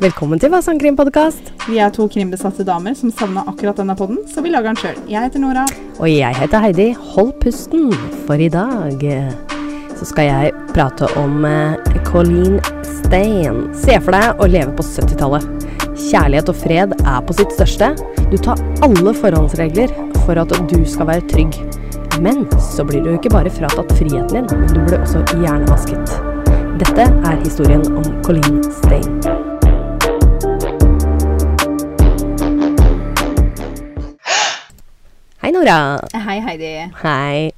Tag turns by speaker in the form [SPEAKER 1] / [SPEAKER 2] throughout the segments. [SPEAKER 1] Velkommen til Hva sangkrimpodkast.
[SPEAKER 2] Vi er to krimbesatte damer som savna akkurat denne podden, så vi lager den sjøl. Jeg heter Nora.
[SPEAKER 1] Og jeg heter Heidi. Hold pusten, for i dag eh, så skal jeg prate om eh, Colleen Stain. Se for deg å leve på 70-tallet. Kjærlighet og fred er på sitt største. Du tar alle forhåndsregler for at du skal være trygg. Men så blir du ikke bare fratatt friheten din, men du blir også hjernevasket. Dette er historien om Colleen Stain. Hei, Nora.
[SPEAKER 2] Hei, Heidi.
[SPEAKER 1] Hei.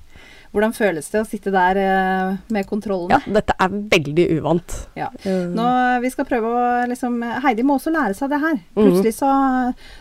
[SPEAKER 2] Hvordan føles det å sitte der eh, med kontrollen?
[SPEAKER 1] Ja, dette er veldig uvant.
[SPEAKER 2] Ja. Nå, vi skal prøve å liksom Heidi må også lære seg det her. Plutselig så,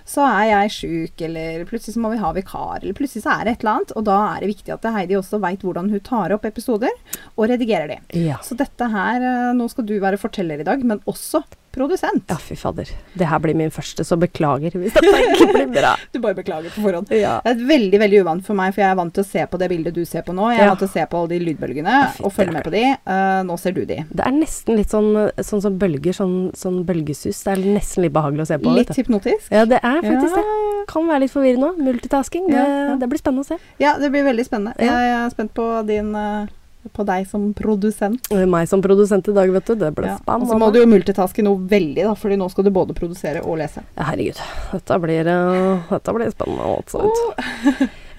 [SPEAKER 2] så er jeg sjuk, eller plutselig så må vi ha vikar, eller plutselig så er det et eller annet. Og da er det viktig at Heidi også veit hvordan hun tar opp episoder, og redigerer de.
[SPEAKER 1] Ja.
[SPEAKER 2] Så dette her eh, Nå skal du være forteller i dag, men også produsent.
[SPEAKER 1] Ja, fy fader. Det her blir min første, så beklager hvis dette ikke blir bra.
[SPEAKER 2] Du bare beklager på forhånd.
[SPEAKER 1] Ja.
[SPEAKER 2] Det er veldig veldig uvant for meg, for jeg er vant til å se på det bildet du ser på nå. Jeg er
[SPEAKER 1] Ja.
[SPEAKER 2] vant til å se på alle de lydbølgene
[SPEAKER 1] fy,
[SPEAKER 2] og følge
[SPEAKER 1] det
[SPEAKER 2] med
[SPEAKER 1] er
[SPEAKER 2] på de. Eh, nå ser du de.
[SPEAKER 1] Det er nesten litt sånn, sånn som bølger, sånn, sånn bølgesus. Det er nesten litt behagelig å se på.
[SPEAKER 2] Litt
[SPEAKER 1] vet du.
[SPEAKER 2] hypnotisk.
[SPEAKER 1] Ja, det er faktisk
[SPEAKER 2] Ja.
[SPEAKER 1] det. Kan være litt forvirrende òg. Multitasking. Det,
[SPEAKER 2] Ja, ja.
[SPEAKER 1] det blir spennende å se.
[SPEAKER 2] Ja, det blir veldig spennende.
[SPEAKER 1] Ja.
[SPEAKER 2] Jeg er spent på din eh, på deg som produsent.
[SPEAKER 1] Og Meg som produsent i dag, vet du. Det ble
[SPEAKER 2] Ja. Og
[SPEAKER 1] spennende.
[SPEAKER 2] så må du jo multitaske noe veldig, da, fordi nå skal du både produsere og lese.
[SPEAKER 1] Ja, Herregud. Dette blir, eh, dette blir spennende. Altså.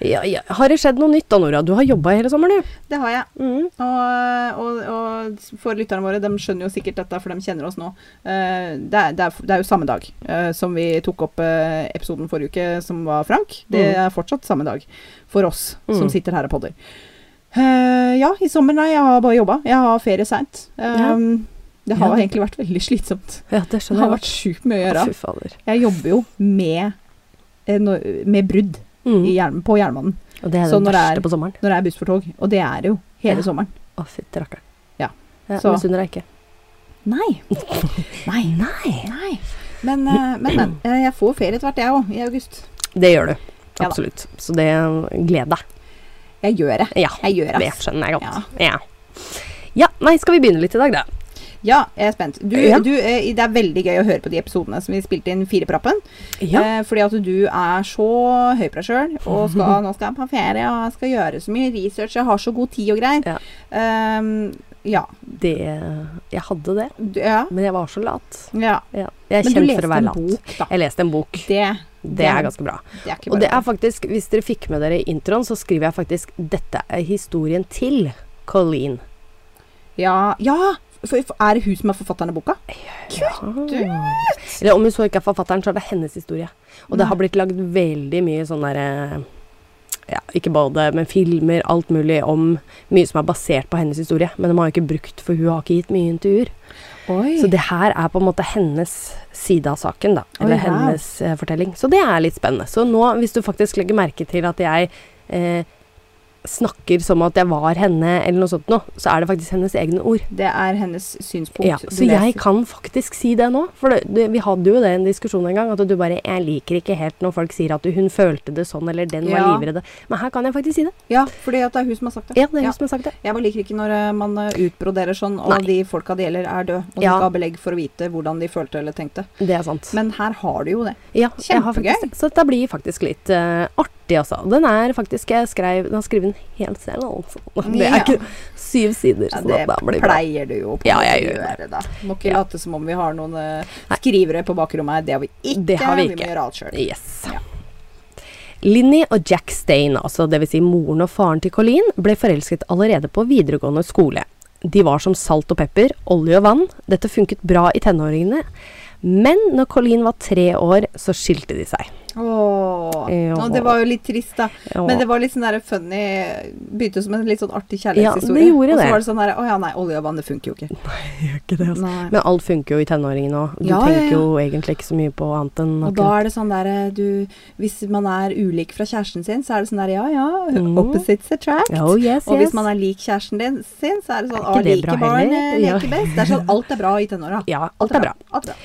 [SPEAKER 1] Ja, ja. Har det skjedd noe nytt da, Nora? Du har jobba hele sommeren, du.
[SPEAKER 2] Det har jeg.
[SPEAKER 1] Mm.
[SPEAKER 2] Og, og, og for lytterne våre, de skjønner jo sikkert dette, for de kjenner oss nå. Eh, det, er, det, er, det er jo samme dag eh, som vi tok opp eh, episoden forrige uke, som var Frank. Det
[SPEAKER 1] Mm.
[SPEAKER 2] er fortsatt samme dag for oss
[SPEAKER 1] Mm.
[SPEAKER 2] som sitter her og podder. Eh, ja, i sommer, nei, jeg har bare jobba. Jeg har ferie seint.
[SPEAKER 1] Ja.
[SPEAKER 2] Det har
[SPEAKER 1] Ja.
[SPEAKER 2] egentlig vært veldig slitsomt.
[SPEAKER 1] Ja, det
[SPEAKER 2] Det
[SPEAKER 1] skjønner
[SPEAKER 2] har
[SPEAKER 1] jeg.
[SPEAKER 2] vært sjukt mye å gjøre.
[SPEAKER 1] Å, Fy fader.
[SPEAKER 2] Jeg jobber jo med, eh, no- med brudd
[SPEAKER 1] Mm.
[SPEAKER 2] i hjelm, på jernbanen
[SPEAKER 1] Og det er
[SPEAKER 2] Så
[SPEAKER 1] det
[SPEAKER 2] når det
[SPEAKER 1] verste
[SPEAKER 2] er-
[SPEAKER 1] på sommeren.
[SPEAKER 2] når det er buss for tog, og det er det jo hele
[SPEAKER 1] Ja.
[SPEAKER 2] sommeren.
[SPEAKER 1] Å, fytti rakkeren.
[SPEAKER 2] Ja.
[SPEAKER 1] Jeg
[SPEAKER 2] Så-
[SPEAKER 1] misunner deg ikke.
[SPEAKER 2] Nei. Nei.
[SPEAKER 1] Nei.
[SPEAKER 2] Nei. Men, eh, men, men. eh, Jeg får ferie etter hvert, jeg òg, i august.
[SPEAKER 1] Det gjør du.
[SPEAKER 2] Ja da.
[SPEAKER 1] Absolutt. Så det gleder deg.
[SPEAKER 2] Jeg gjør det.
[SPEAKER 1] Ja,
[SPEAKER 2] Jeg gjør
[SPEAKER 1] det
[SPEAKER 2] det.
[SPEAKER 1] skjønner jeg godt. Ja. ja. Nei, skal vi begynne litt i dag, da?
[SPEAKER 2] Ja, jeg er spent. Du,
[SPEAKER 1] Ja.
[SPEAKER 2] du, eh, det er veldig gøy å høre på de episodene som vi spilte inn Fireprappen.
[SPEAKER 1] Ja.
[SPEAKER 2] Eh, fordi at du er så høy på deg sjøl, og skal, nå skal jeg på ferie, og jeg skal gjøre så mye research, jeg har så god tid og greier.
[SPEAKER 1] Ja.
[SPEAKER 2] Ehm, ja.
[SPEAKER 1] Det Jeg hadde det,
[SPEAKER 2] Du, ja.
[SPEAKER 1] men jeg var så lat.
[SPEAKER 2] ja.
[SPEAKER 1] Ja. Jeg er
[SPEAKER 2] Men du
[SPEAKER 1] kjent for
[SPEAKER 2] leste
[SPEAKER 1] å være
[SPEAKER 2] en
[SPEAKER 1] lat.
[SPEAKER 2] bok, da.
[SPEAKER 1] Jeg leste en bok.
[SPEAKER 2] Det,
[SPEAKER 1] Det er ganske bra.
[SPEAKER 2] det er ikke
[SPEAKER 1] Og
[SPEAKER 2] bare
[SPEAKER 1] det er faktisk, hvis dere fikk med dere i introen, så skriver jeg faktisk 'Dette er historien til Colleen'.
[SPEAKER 2] Ja, ja! For, for, er det hun som er forfatteren av boka?
[SPEAKER 1] Eller om hun så ikke er forfatteren, så er det hennes historie. Og det
[SPEAKER 2] Nei.
[SPEAKER 1] har blitt lagd veldig mye sånn derre ja, ikke både, men filmer, alt mulig om mye som er basert på hennes historie. Men de har jo ikke brukt, for hun har ikke gitt mye intervjuer.
[SPEAKER 2] Oi.
[SPEAKER 1] Så det her er på en måte hennes side av saken, da.
[SPEAKER 2] Oi,
[SPEAKER 1] Eller
[SPEAKER 2] wow.
[SPEAKER 1] hennes eh, fortelling. Så det er litt spennende. Så nå, hvis du faktisk legger merke til at jeg eh, snakker som at jeg var henne, eller noe sånt nå, så er det faktisk hennes egne ord.
[SPEAKER 2] Det er hennes synspunkt.
[SPEAKER 1] Ja,
[SPEAKER 2] du
[SPEAKER 1] så jeg
[SPEAKER 2] leser.
[SPEAKER 1] kan faktisk si det nå. For det, det, vi hadde jo det i en diskusjon en gang, at du bare Jeg liker ikke helt når folk sier at du, hun følte det sånn, eller den var
[SPEAKER 2] Ja.
[SPEAKER 1] livredd. Men her kan jeg faktisk si det.
[SPEAKER 2] Ja, fordi at det er hun som har sagt det.
[SPEAKER 1] Ja, det er
[SPEAKER 2] Ja.
[SPEAKER 1] hun som har sagt det.
[SPEAKER 2] Jeg bare liker ikke når eh, man eh, utbroderer sånn, og
[SPEAKER 1] Nei.
[SPEAKER 2] de folka det gjelder, er døde. Og du
[SPEAKER 1] Ja.
[SPEAKER 2] ikke har belegg for å vite hvordan de følte eller tenkte.
[SPEAKER 1] Det er sant.
[SPEAKER 2] Men her har du jo det.
[SPEAKER 1] ja, jeg har
[SPEAKER 2] kjempegøy.
[SPEAKER 1] faktisk det. Så dette blir faktisk litt eh, artig, altså. Den er faktisk Jeg skrev Den har skrevet den helt selv, altså. Det er
[SPEAKER 2] Ja.
[SPEAKER 1] ikke syv sider,
[SPEAKER 2] Ja,
[SPEAKER 1] så
[SPEAKER 2] det
[SPEAKER 1] det blir bra.
[SPEAKER 2] pleier du jo på
[SPEAKER 1] Ja,
[SPEAKER 2] en måte
[SPEAKER 1] jeg
[SPEAKER 2] å
[SPEAKER 1] gjør
[SPEAKER 2] gjøre, da. Må ikke
[SPEAKER 1] Ja.
[SPEAKER 2] late som om vi har noen eh,
[SPEAKER 1] Nei.
[SPEAKER 2] skrivere på bakrommet her. Det har vi ikke.
[SPEAKER 1] Det har vi ikke.
[SPEAKER 2] må gjøre alt sjøl.
[SPEAKER 1] Yes.
[SPEAKER 2] Ja.
[SPEAKER 1] Linni og Jack Stain, altså dvs. Si moren og faren til Colleen, ble forelsket allerede på videregående skole. De var som salt og pepper, olje og vann. Dette funket bra i tenåringene. Men når Colleen var tre år, så skilte de seg.
[SPEAKER 2] Åh.
[SPEAKER 1] Ja.
[SPEAKER 2] Nå, det var jo litt trist, da.
[SPEAKER 1] Ja.
[SPEAKER 2] Men det var litt sånn der funny eh, Begynte som en litt sånn artig
[SPEAKER 1] Ja,
[SPEAKER 2] kjærlighetshistorie.
[SPEAKER 1] det gjorde
[SPEAKER 2] og
[SPEAKER 1] det.
[SPEAKER 2] så var det sånn der Å ja, nei, olje og vann, det funker jo ikke. Nei.
[SPEAKER 1] Men alt funker jo i tenåringene òg. Du
[SPEAKER 2] Ja, ja,
[SPEAKER 1] tenker
[SPEAKER 2] ja.
[SPEAKER 1] jo egentlig ikke så mye på annet enn
[SPEAKER 2] Og da er det sånn der eh, du, Hvis man er ulik fra kjæresten sin, så er det sånn der ja ja,
[SPEAKER 1] Mm.
[SPEAKER 2] opposites attract.
[SPEAKER 1] Oh, yes,
[SPEAKER 2] Og
[SPEAKER 1] yes.
[SPEAKER 2] hvis man er lik kjæresten din sin, så er det sånn
[SPEAKER 1] Er
[SPEAKER 2] å,
[SPEAKER 1] ikke det bra
[SPEAKER 2] like barn
[SPEAKER 1] heller?»
[SPEAKER 2] eh,
[SPEAKER 1] Ja.
[SPEAKER 2] leker best. Det er sånn alt er bra i tenåra.
[SPEAKER 1] Ja, alt er bra.
[SPEAKER 2] Alt er bra.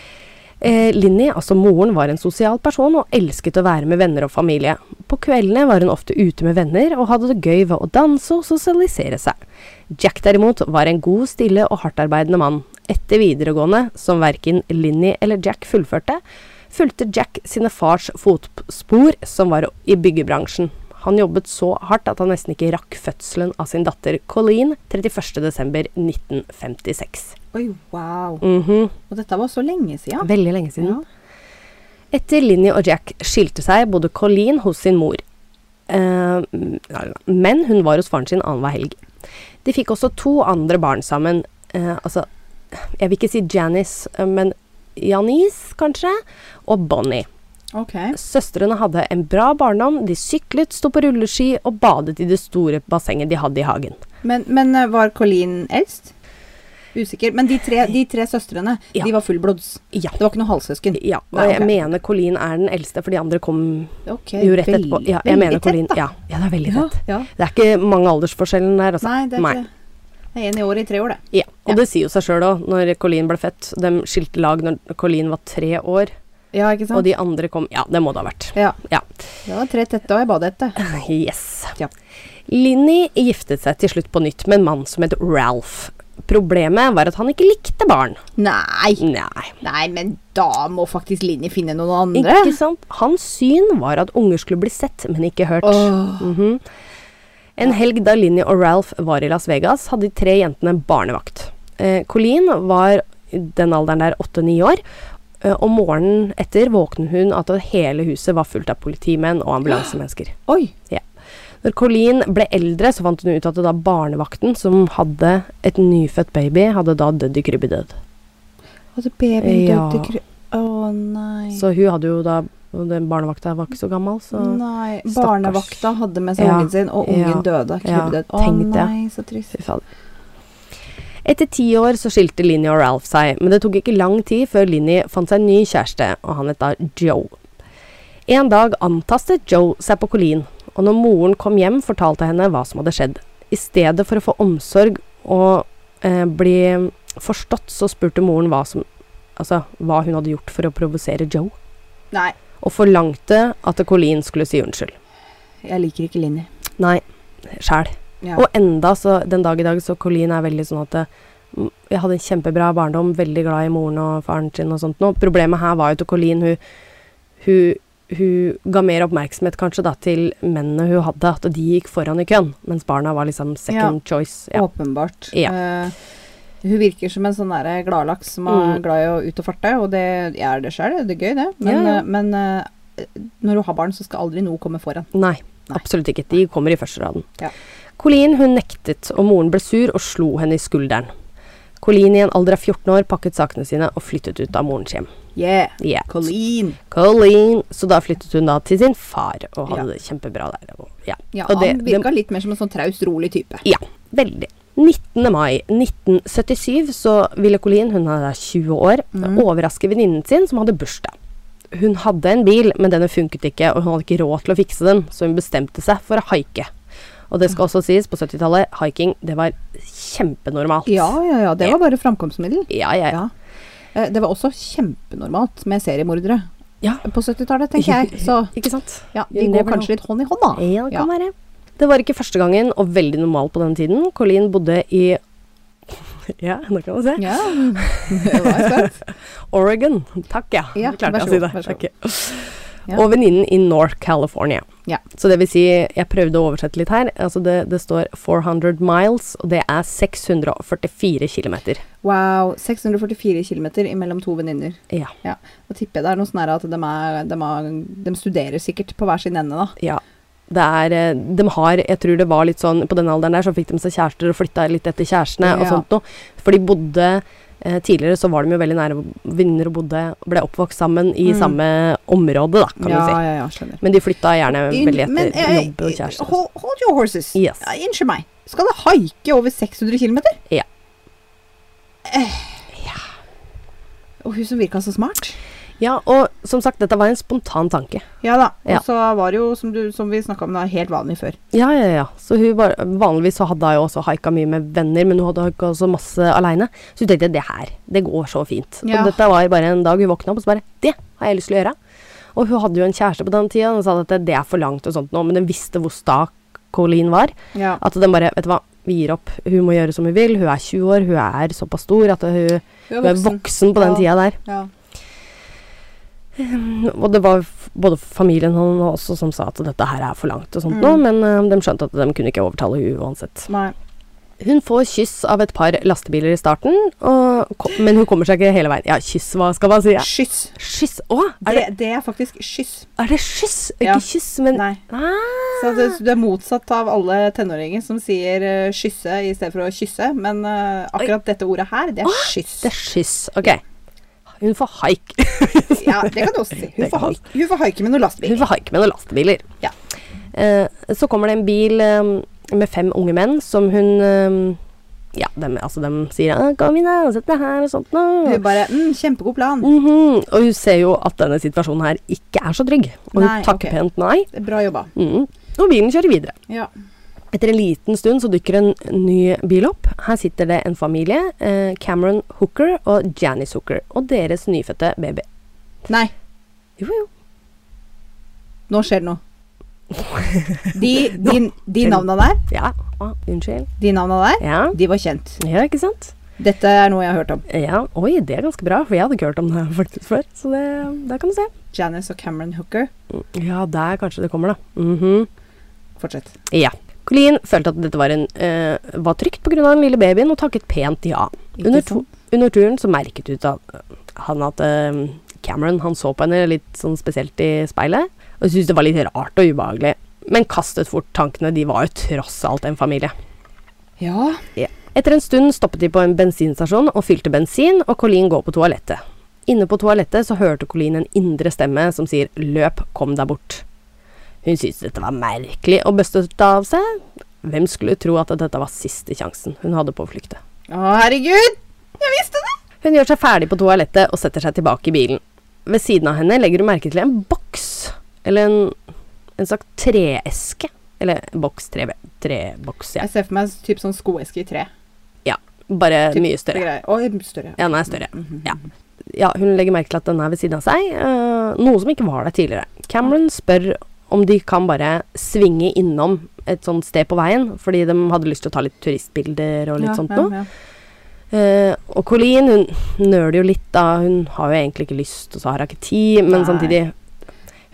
[SPEAKER 1] Eh, Linni, altså moren, var en sosial person og elsket å være med venner og familie. På kveldene var hun ofte ute med venner og hadde det gøy ved å danse og sosialisere seg. Jack derimot var en god, stille og hardtarbeidende mann. etter videregående, som verken Linni eller Jack fullførte, fulgte Jack sine fars fotspor, som var i byggebransjen. Han jobbet så hardt at han nesten ikke rakk fødselen av sin datter Colleen 31.12.1956.
[SPEAKER 2] Oi, wow.
[SPEAKER 1] Mhm,
[SPEAKER 2] Og dette var så lenge siden.
[SPEAKER 1] Veldig lenge siden.
[SPEAKER 2] Ja.
[SPEAKER 1] Etter Linni og Jack skilte seg, bodde Colleen hos sin mor. Eh, men hun var hos faren sin annenhver helg. De fikk også to andre barn sammen. Eh, altså Jeg vil ikke si Janice, eh, men Janice, kanskje, og Bonnie.
[SPEAKER 2] Ok.
[SPEAKER 1] Søstrene hadde en bra barndom. De syklet, sto på rulleski og badet i det store bassenget de hadde i hagen.
[SPEAKER 2] Men, men eh, var Colleen eldst? Usikker. Men de tre, de tre søstrene,
[SPEAKER 1] Ja.
[SPEAKER 2] de var fullblods.
[SPEAKER 1] Ja.
[SPEAKER 2] Det var ikke noe halvsøsken.
[SPEAKER 1] ja og
[SPEAKER 2] Nei,
[SPEAKER 1] jeg
[SPEAKER 2] ok.
[SPEAKER 1] mener Colleen er den eldste, for de andre kom
[SPEAKER 2] Ok,
[SPEAKER 1] jo rett
[SPEAKER 2] veldig-
[SPEAKER 1] etterpå. Ja, jeg
[SPEAKER 2] veldig
[SPEAKER 1] mener
[SPEAKER 2] tett,
[SPEAKER 1] Colleen.
[SPEAKER 2] da.
[SPEAKER 1] Ja, ja, det er veldig
[SPEAKER 2] Ja,
[SPEAKER 1] tett.
[SPEAKER 2] ja.
[SPEAKER 1] Det er ikke mange aldersforskjellen der, altså.
[SPEAKER 2] Nei, det er ikke det. Det er én i året i tre år, det.
[SPEAKER 1] Ja, og
[SPEAKER 2] Ja.
[SPEAKER 1] det sier jo seg sjøl òg, når Colleen ble født. De skilte lag når Colleen var tre år,
[SPEAKER 2] Ja, ikke
[SPEAKER 1] og de andre kom Ja, det må det ha vært.
[SPEAKER 2] Ja.
[SPEAKER 1] Ja.
[SPEAKER 2] Det var tre tette og ei badehette.
[SPEAKER 1] Yes.
[SPEAKER 2] Ja.
[SPEAKER 1] Linni giftet seg til slutt på nytt med en mann som het Ralph. Problemet var at han ikke likte barn.
[SPEAKER 2] Nei!
[SPEAKER 1] Nei.
[SPEAKER 2] Nei, men da må faktisk Linni finne noen andre.
[SPEAKER 1] Ikke sant? Hans syn var at unger skulle bli sett, men ikke hørt.
[SPEAKER 2] Åh.
[SPEAKER 1] Mhm. En helg da Linni og Ralph var i Las Vegas, hadde de tre jentene barnevakt. Eh, Colleen var i den alderen der åtte-ni år, eh, og morgenen etter våknet hun at hele huset var fullt av politimenn og ambulansemennesker.
[SPEAKER 2] Oi!
[SPEAKER 1] Ja. Når Colleen ble eldre, så fant hun ut at det da barnevakten som hadde et nyfødt baby, hadde da dødd i krybbedød.
[SPEAKER 2] Altså, babyen
[SPEAKER 1] Ja.
[SPEAKER 2] døde kry... Å nei.
[SPEAKER 1] Så hun hadde jo da og Den barnevakta var ikke så gammel, så
[SPEAKER 2] nei.
[SPEAKER 1] Stakkars.
[SPEAKER 2] Barnevakta hadde med seg
[SPEAKER 1] Ja.
[SPEAKER 2] ungen sin, og ungen
[SPEAKER 1] Ja.
[SPEAKER 2] døde.
[SPEAKER 1] Ja,
[SPEAKER 2] Krybbedød. Å
[SPEAKER 1] tenk det.
[SPEAKER 2] nei, så trist.
[SPEAKER 1] Fy fader. Etter ti år så skilte Linni og Ralph seg, men det tok ikke lang tid før Linni fant seg en ny kjæreste, og han het da Joe. En dag antastet Joe seg på Colleen, og når moren kom hjem, fortalte henne hva som hadde skjedd. I stedet for å få omsorg og eh, bli forstått, så spurte moren hva, som, altså, hva hun hadde gjort for å provosere Joe,
[SPEAKER 2] Nei,
[SPEAKER 1] og forlangte at Colleen skulle si unnskyld.
[SPEAKER 2] jeg liker ikke Linni.
[SPEAKER 1] Nei, sjæl.
[SPEAKER 2] Ja.
[SPEAKER 1] Og enda så, den dag i dag, så Colleen er veldig sånn at mm, jeg hadde en kjempebra barndom, veldig glad i moren og faren sin og sånt. Nå, problemet her var jo til Colleen, hun, hun, hun ga mer oppmerksomhet kanskje da til mennene hun hadde, at de gikk foran i køen, mens barna var liksom second choice. Ja.
[SPEAKER 2] Åpenbart.
[SPEAKER 1] Ja.
[SPEAKER 2] Eh, hun virker som en sånn derre gladlaks som er
[SPEAKER 1] Mm.
[SPEAKER 2] glad i å ut og farte, og det er det sjøl, det er gøy, det. Men,
[SPEAKER 1] Ja, ja.
[SPEAKER 2] eh, men eh, når du har barn, så skal aldri noe komme foran.
[SPEAKER 1] Nei,
[SPEAKER 2] Nei.
[SPEAKER 1] absolutt ikke. De kommer i første raden.
[SPEAKER 2] Ja.
[SPEAKER 1] Colleen hun nektet, og moren ble sur og slo henne i skulderen. Colleen i en alder av 14 år pakket sakene sine og flyttet ut av morens hjem.
[SPEAKER 2] Yeah!
[SPEAKER 1] Yeah.
[SPEAKER 2] Colleen!
[SPEAKER 1] Colleen. Så da flyttet hun da til sin far og hadde
[SPEAKER 2] Ja.
[SPEAKER 1] det kjempebra der. Og, ja.
[SPEAKER 2] Ja,
[SPEAKER 1] og det,
[SPEAKER 2] han
[SPEAKER 1] det,
[SPEAKER 2] virka litt mer som en sånn traust, rolig type.
[SPEAKER 1] ja, veldig. 19. mai 1977 så ville Colleen, hun er da 20 år,
[SPEAKER 2] Mhm.
[SPEAKER 1] overraske venninnen sin som hadde bursdag. Hun hadde en bil, men denne funket ikke, og hun hadde ikke råd til å fikse den, så hun bestemte seg for å haike. Og det skal også sies, på 70-tallet, haiking, det var kjempenormalt.
[SPEAKER 2] Ja, ja, ja. Det var bare framkomstmiddel.
[SPEAKER 1] Ja, ja, ja.
[SPEAKER 2] Ja. Eh, Det var også kjempenormalt med seriemordere
[SPEAKER 1] ja.
[SPEAKER 2] på 70-tallet, tenker jeg. Så
[SPEAKER 1] Ikke sant?
[SPEAKER 2] ja,
[SPEAKER 1] You
[SPEAKER 2] de går
[SPEAKER 1] never know.
[SPEAKER 2] kanskje litt hånd i hånd, da.
[SPEAKER 1] Ja, det kan være. Det var ikke første gangen, og veldig normal på den tiden. Colleen bodde i Ja, nå kan man se.
[SPEAKER 2] Ja. Det var spent.
[SPEAKER 1] Oregon. Takk, ja.
[SPEAKER 2] Ja,
[SPEAKER 1] Nå klarte
[SPEAKER 2] vær
[SPEAKER 1] jeg
[SPEAKER 2] så
[SPEAKER 1] å si
[SPEAKER 2] god,
[SPEAKER 1] det.
[SPEAKER 2] vær så god.
[SPEAKER 1] Takk, ja.
[SPEAKER 2] Ja.
[SPEAKER 1] Og venninnen i North California.
[SPEAKER 2] Ja.
[SPEAKER 1] Så det vil si, jeg prøvde å oversette litt her. Altså det, det står 400 miles, og det er 644 kilometer.
[SPEAKER 2] Wow. 644 km mellom to venninner.
[SPEAKER 1] Ja.
[SPEAKER 2] Ja. Da tipper jeg det er noe sånn her at de, er, de, er, de studerer sikkert på hver sin ende, da.
[SPEAKER 1] ja. Det er, eh, de har, jeg tror det var litt sånn, på den alderen der så fikk de seg kjærester og flytta litt etter kjærestene og
[SPEAKER 2] Ja.
[SPEAKER 1] sånt noe. For de bodde, eh, tidligere så var de jo veldig nære venner og bodde, ble oppvokst sammen i
[SPEAKER 2] Mm.
[SPEAKER 1] samme område da, kan
[SPEAKER 2] ja,
[SPEAKER 1] du si.
[SPEAKER 2] ja, ja, skjønner.
[SPEAKER 1] Men de flytta gjerne
[SPEAKER 2] In-
[SPEAKER 1] veldig etter
[SPEAKER 2] men, eh,
[SPEAKER 1] jobb og kjæreste.
[SPEAKER 2] Hold, hold your horses.
[SPEAKER 1] Yes.
[SPEAKER 2] Ja, Unnskyld meg. Skal det haike over 600 km?
[SPEAKER 1] Ja.
[SPEAKER 2] Eh. Og hun som virka så smart.
[SPEAKER 1] Ja, og som sagt, dette var en spontan tanke.
[SPEAKER 2] Ja da. Og
[SPEAKER 1] Ja.
[SPEAKER 2] så var det jo, som, du, som vi snakka om, da, helt vanlig før.
[SPEAKER 1] Ja, ja, ja. Så hun bare, vanligvis så hadde hun jo også haika mye med venner, men hun hadde haika også masse aleine. Så hun tenkte det her, det går så fint.
[SPEAKER 2] Ja.
[SPEAKER 1] Og dette var bare en dag hun våkna opp og så bare Det har jeg lyst til å gjøre. Og hun hadde jo en kjæreste på den tida, og hun sa at det er for langt og sånt nå, men den visste hvor sta Colleen var.
[SPEAKER 2] Ja.
[SPEAKER 1] At den bare Vet du hva, vi gir opp. Hun må gjøre som hun vil. Hun er 20 år, hun er såpass stor at hun,
[SPEAKER 2] Hun
[SPEAKER 1] hun er voksen på den tida der.
[SPEAKER 2] Ja.
[SPEAKER 1] Og det var f- både familien han også som sa at dette her er for langt og sånt nå,
[SPEAKER 2] Mm.
[SPEAKER 1] men eh, de skjønte at de kunne ikke overtale hun uansett.
[SPEAKER 2] Nei.
[SPEAKER 1] Hun får kyss av et par lastebiler i starten, og, ko- men hun kommer seg ikke hele veien. Ja, kyss, hva skal man si? Ja.
[SPEAKER 2] Skyss.
[SPEAKER 1] Skyss? Å, er det,
[SPEAKER 2] Det, det er faktisk skyss.
[SPEAKER 1] er det skyss?
[SPEAKER 2] Ja.
[SPEAKER 1] Ikke kyss, men
[SPEAKER 2] Nei.
[SPEAKER 1] Ah.
[SPEAKER 2] Så du, du er motsatt av alle tenåringer som sier eh, skysse i stedet for å kysse. Men eh, akkurat dette ordet her, det er skyss.
[SPEAKER 1] Det er skyss. Ok. Hun får haik.
[SPEAKER 2] Ja, det kan du også si. Hun
[SPEAKER 1] Det
[SPEAKER 2] får
[SPEAKER 1] kan
[SPEAKER 2] haik- hun får haike med noen
[SPEAKER 1] Hun
[SPEAKER 2] lastebil.
[SPEAKER 1] får haik med noen lastebiler.
[SPEAKER 2] Ja.
[SPEAKER 1] Eh, så kommer det en bil eh, med fem unge menn som hun eh, Ja, dem, altså, dem sier «Ah, 'Kom inn, da, og sett deg her', og sånt noe.
[SPEAKER 2] Hun bare mm, 'Kjempegod plan.
[SPEAKER 1] Mhm. Og hun ser jo at denne situasjonen her ikke er så trygg, og hun
[SPEAKER 2] Nei,
[SPEAKER 1] takker
[SPEAKER 2] ok.
[SPEAKER 1] pent nei.
[SPEAKER 2] Bra jobba.
[SPEAKER 1] Mhm. Og bilen kjører videre.
[SPEAKER 2] Ja.
[SPEAKER 1] Etter en liten stund så dukker en ny bil opp. Her sitter det en familie. Eh, Cameron Hooker og Janice Hooker. Og deres nyfødte baby.
[SPEAKER 2] Nei,
[SPEAKER 1] Jo, jo.
[SPEAKER 2] nå skjer det noe. De, de, de navna der,
[SPEAKER 1] Ja. Ah, unnskyld.
[SPEAKER 2] de navna der,
[SPEAKER 1] Ja.
[SPEAKER 2] de var kjent.
[SPEAKER 1] ja, ikke sant?
[SPEAKER 2] Dette er noe jeg har hørt om.
[SPEAKER 1] Ja, Oi, det er ganske bra, for jeg hadde ikke hørt om det her faktisk før. Så det, der kan du se.
[SPEAKER 2] Janice og Cameron Hooker.
[SPEAKER 1] Ja, der kanskje det kommer, da. Mhm.
[SPEAKER 2] Fortsett.
[SPEAKER 1] Ja. Colleen følte at dette var, en, eh, var trygt pga. den lille babyen, og takket pent ja.
[SPEAKER 2] Ikke
[SPEAKER 1] Under,
[SPEAKER 2] sant?
[SPEAKER 1] to, under turen så merket ut at, han at eh, Cameron han så på henne litt sånn spesielt i speilet, og syntes det var litt rart og ubehagelig. Men kastet fort tankene, de var jo tross alt en familie.
[SPEAKER 2] Ja.
[SPEAKER 1] Etter en stund stoppet de på en bensinstasjon og fylte bensin, og Colleen går på toalettet. Inne på toalettet så hørte Colleen en indre stemme som sier 'løp, kom deg bort'. Hun syntes dette var merkelig og bøstet det av seg. Hvem skulle tro at dette var siste sjansen hun hadde på å flykte?
[SPEAKER 2] Å, herregud! Jeg visste det!
[SPEAKER 1] Hun gjør seg ferdig på toalettet og setter seg tilbake i bilen. Ved siden av henne legger hun merke til en boks, eller en, en slags treeske. Eller boks, tre, treboks, ja.
[SPEAKER 2] Jeg ser for meg typ sånn skoeske i tre.
[SPEAKER 1] Bare
[SPEAKER 2] Typ
[SPEAKER 1] mye større.
[SPEAKER 2] greier. Oi, større.
[SPEAKER 1] Ja, den er større.
[SPEAKER 2] Mhm.
[SPEAKER 1] Ja. ja, hun legger merke til at den er ved siden av seg, eh, noe som ikke var der tidligere. Cameron spør om de kan bare svinge innom et sånt sted på veien, fordi de hadde lyst til å ta litt turistbilder og litt sånn
[SPEAKER 2] Ja,
[SPEAKER 1] sånt
[SPEAKER 2] ja,
[SPEAKER 1] noe.
[SPEAKER 2] ja.
[SPEAKER 1] Eh, og Colleen, hun nøler jo litt da, hun har jo egentlig ikke lyst, og så har hun ikke tid, men
[SPEAKER 2] Nei.
[SPEAKER 1] samtidig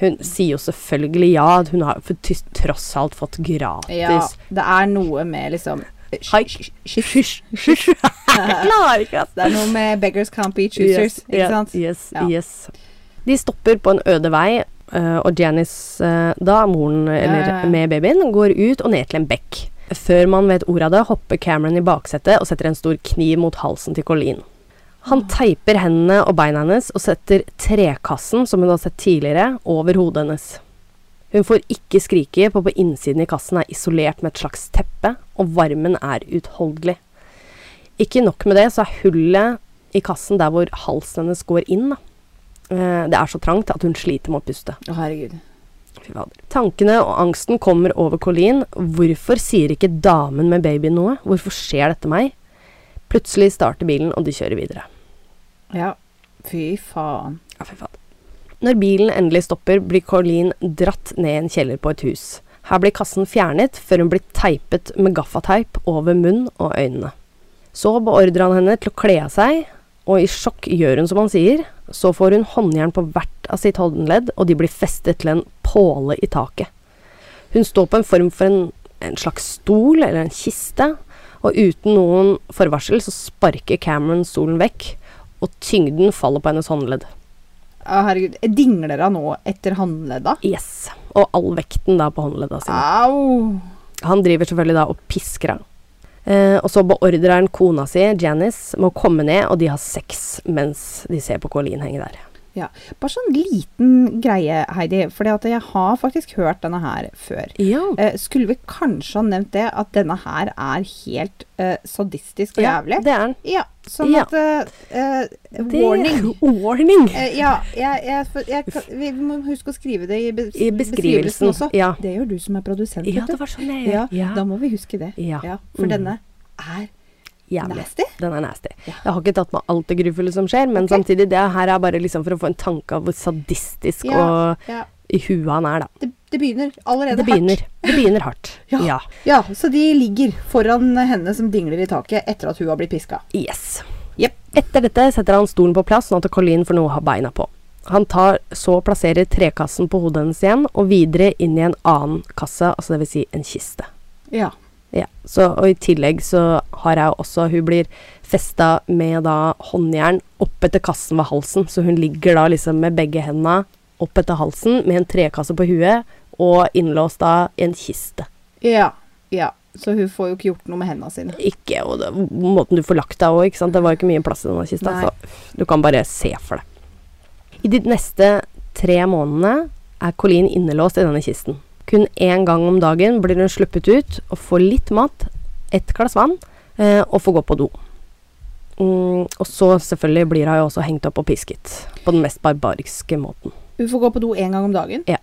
[SPEAKER 1] hun sier jo selvfølgelig ja, hun har for til tross alt fått gratis.
[SPEAKER 2] Ja, det er noe med liksom
[SPEAKER 1] Haik.
[SPEAKER 2] sh- sh- sh-
[SPEAKER 1] Hysj, hysj. Jeg klarer ikke, ass.
[SPEAKER 2] Det er noe med beggars can't be choosers,
[SPEAKER 1] Yes,
[SPEAKER 2] ikke
[SPEAKER 1] yes,
[SPEAKER 2] sant?
[SPEAKER 1] Yes,
[SPEAKER 2] Ja.
[SPEAKER 1] yes. De stopper på en øde vei, eh, og Janice, eh, da, moren eller,
[SPEAKER 2] ja, ja.
[SPEAKER 1] med babyen, går ut og ned til en bekk. Før man vet ordet av det, hopper Cameron i baksetet og setter en stor kniv mot halsen til Colleen. Han teiper hendene og beina hennes og setter trekassen, som hun har sett tidligere, over hodet hennes. Hun får ikke skrike, for på innsiden i kassen er isolert med et slags teppe, og varmen er uutholdelig. Ikke nok med det, så er hullet i kassen der hvor halsen hennes går inn, da. Eh, Det er så trangt at hun sliter med å puste.
[SPEAKER 2] Å, herregud.
[SPEAKER 1] Fy fader. Tankene og angsten kommer over Colleen. Hvorfor sier ikke damen med babyen noe? Hvorfor skjer dette meg? Plutselig starter bilen, og de kjører videre.
[SPEAKER 2] Ja. Fy faen.
[SPEAKER 1] Ja, fy fader. Når bilen endelig stopper, blir Colleen dratt ned i en kjeller på et hus. Her blir kassen fjernet, før hun blir teipet med gaffateip over munn og øynene. Så beordrer han henne til å kle av seg, og i sjokk gjør hun som han sier. Så får hun håndjern på hvert av sitt håndledd, og de blir festet til en påle i taket. Hun står på en form for en, en slags stol eller en kiste, og uten noen forvarsel så sparker Cameron stolen vekk, og tyngden faller på hennes håndledd.
[SPEAKER 2] Å, herregud. Dingler hun nå etter håndledda?
[SPEAKER 1] Yes. Og all vekten da på håndledda sine.
[SPEAKER 2] Au!
[SPEAKER 1] Han driver selvfølgelig da og pisker henne. Eh, og så beordrer han kona si, Janice, med å komme ned, og de har sex mens de ser på Colleen henge der.
[SPEAKER 2] Ja. Bare sånn liten greie, Heidi, for jeg har faktisk hørt denne her før.
[SPEAKER 1] Ja.
[SPEAKER 2] Eh, skulle vi kanskje ha nevnt det, at denne her er helt eh, sadistisk og jævlig?
[SPEAKER 1] det er han.
[SPEAKER 2] Ja, sånn
[SPEAKER 1] Ja.
[SPEAKER 2] at eh, eh,
[SPEAKER 1] Det-
[SPEAKER 2] Warning.
[SPEAKER 1] Warning!
[SPEAKER 2] Eh, ja, jeg, jeg, for- jeg, kan- vi må huske å skrive det i, bes
[SPEAKER 1] I beskrivelsen,
[SPEAKER 2] også.
[SPEAKER 1] ja.
[SPEAKER 2] Det gjør du som er produsent.
[SPEAKER 1] Ja,
[SPEAKER 2] vet du.
[SPEAKER 1] det var sånn jeg
[SPEAKER 2] ja,
[SPEAKER 1] gjør. Ja,
[SPEAKER 2] Da må vi huske det.
[SPEAKER 1] Ja.
[SPEAKER 2] for
[SPEAKER 1] Mm.
[SPEAKER 2] denne er
[SPEAKER 1] jævlig.
[SPEAKER 2] nasty.
[SPEAKER 1] Den er nasty.
[SPEAKER 2] Ja.
[SPEAKER 1] Jeg har ikke tatt med alt det grufulle som skjer, men
[SPEAKER 2] Ok.
[SPEAKER 1] samtidig, det her er bare liksom for å få en tanke av hvor sadistisk
[SPEAKER 2] Ja,
[SPEAKER 1] og
[SPEAKER 2] ja.
[SPEAKER 1] i huet han er, da.
[SPEAKER 2] Det, Det begynner allerede
[SPEAKER 1] Det begynner, det begynner hardt.
[SPEAKER 2] Ja.
[SPEAKER 1] ja.
[SPEAKER 2] hardt. Ja, så de ligger foran henne som dingler i taket etter at hun har blitt piska.
[SPEAKER 1] Yes.
[SPEAKER 2] Jep.
[SPEAKER 1] Etter dette setter han stolen på plass, sånn at Colleen får noe å ha beina på. Han tar så plasserer trekassen på hodet hennes igjen, og videre inn i en annen kasse, altså dvs. Si en kiste.
[SPEAKER 2] Ja.
[SPEAKER 1] Ja, så, og I tillegg så har jeg også Hun blir festa med da håndjern oppetter kassen ved halsen. Så hun ligger da liksom med begge henda oppetter halsen med en trekasse på huet og innlåst da i en kiste.
[SPEAKER 2] Ja. ja. Så hun får jo ikke gjort noe med hendene sine.
[SPEAKER 1] Ikke og det, måten du får lagt deg òg, ikke sant. Det var jo ikke mye plass i denne kista,
[SPEAKER 2] Nei.
[SPEAKER 1] så du kan bare se for deg. I de neste tre månedene er Colleen innelåst i denne kisten. Kun én gang om dagen blir hun sluppet ut og får litt mat, ett glass vann, eh, og får gå på do. Mm, og så selvfølgelig blir hun jo også hengt opp og pisket, på den mest barbariske måten.
[SPEAKER 2] Hun får gå på do én gang om dagen.
[SPEAKER 1] Ja.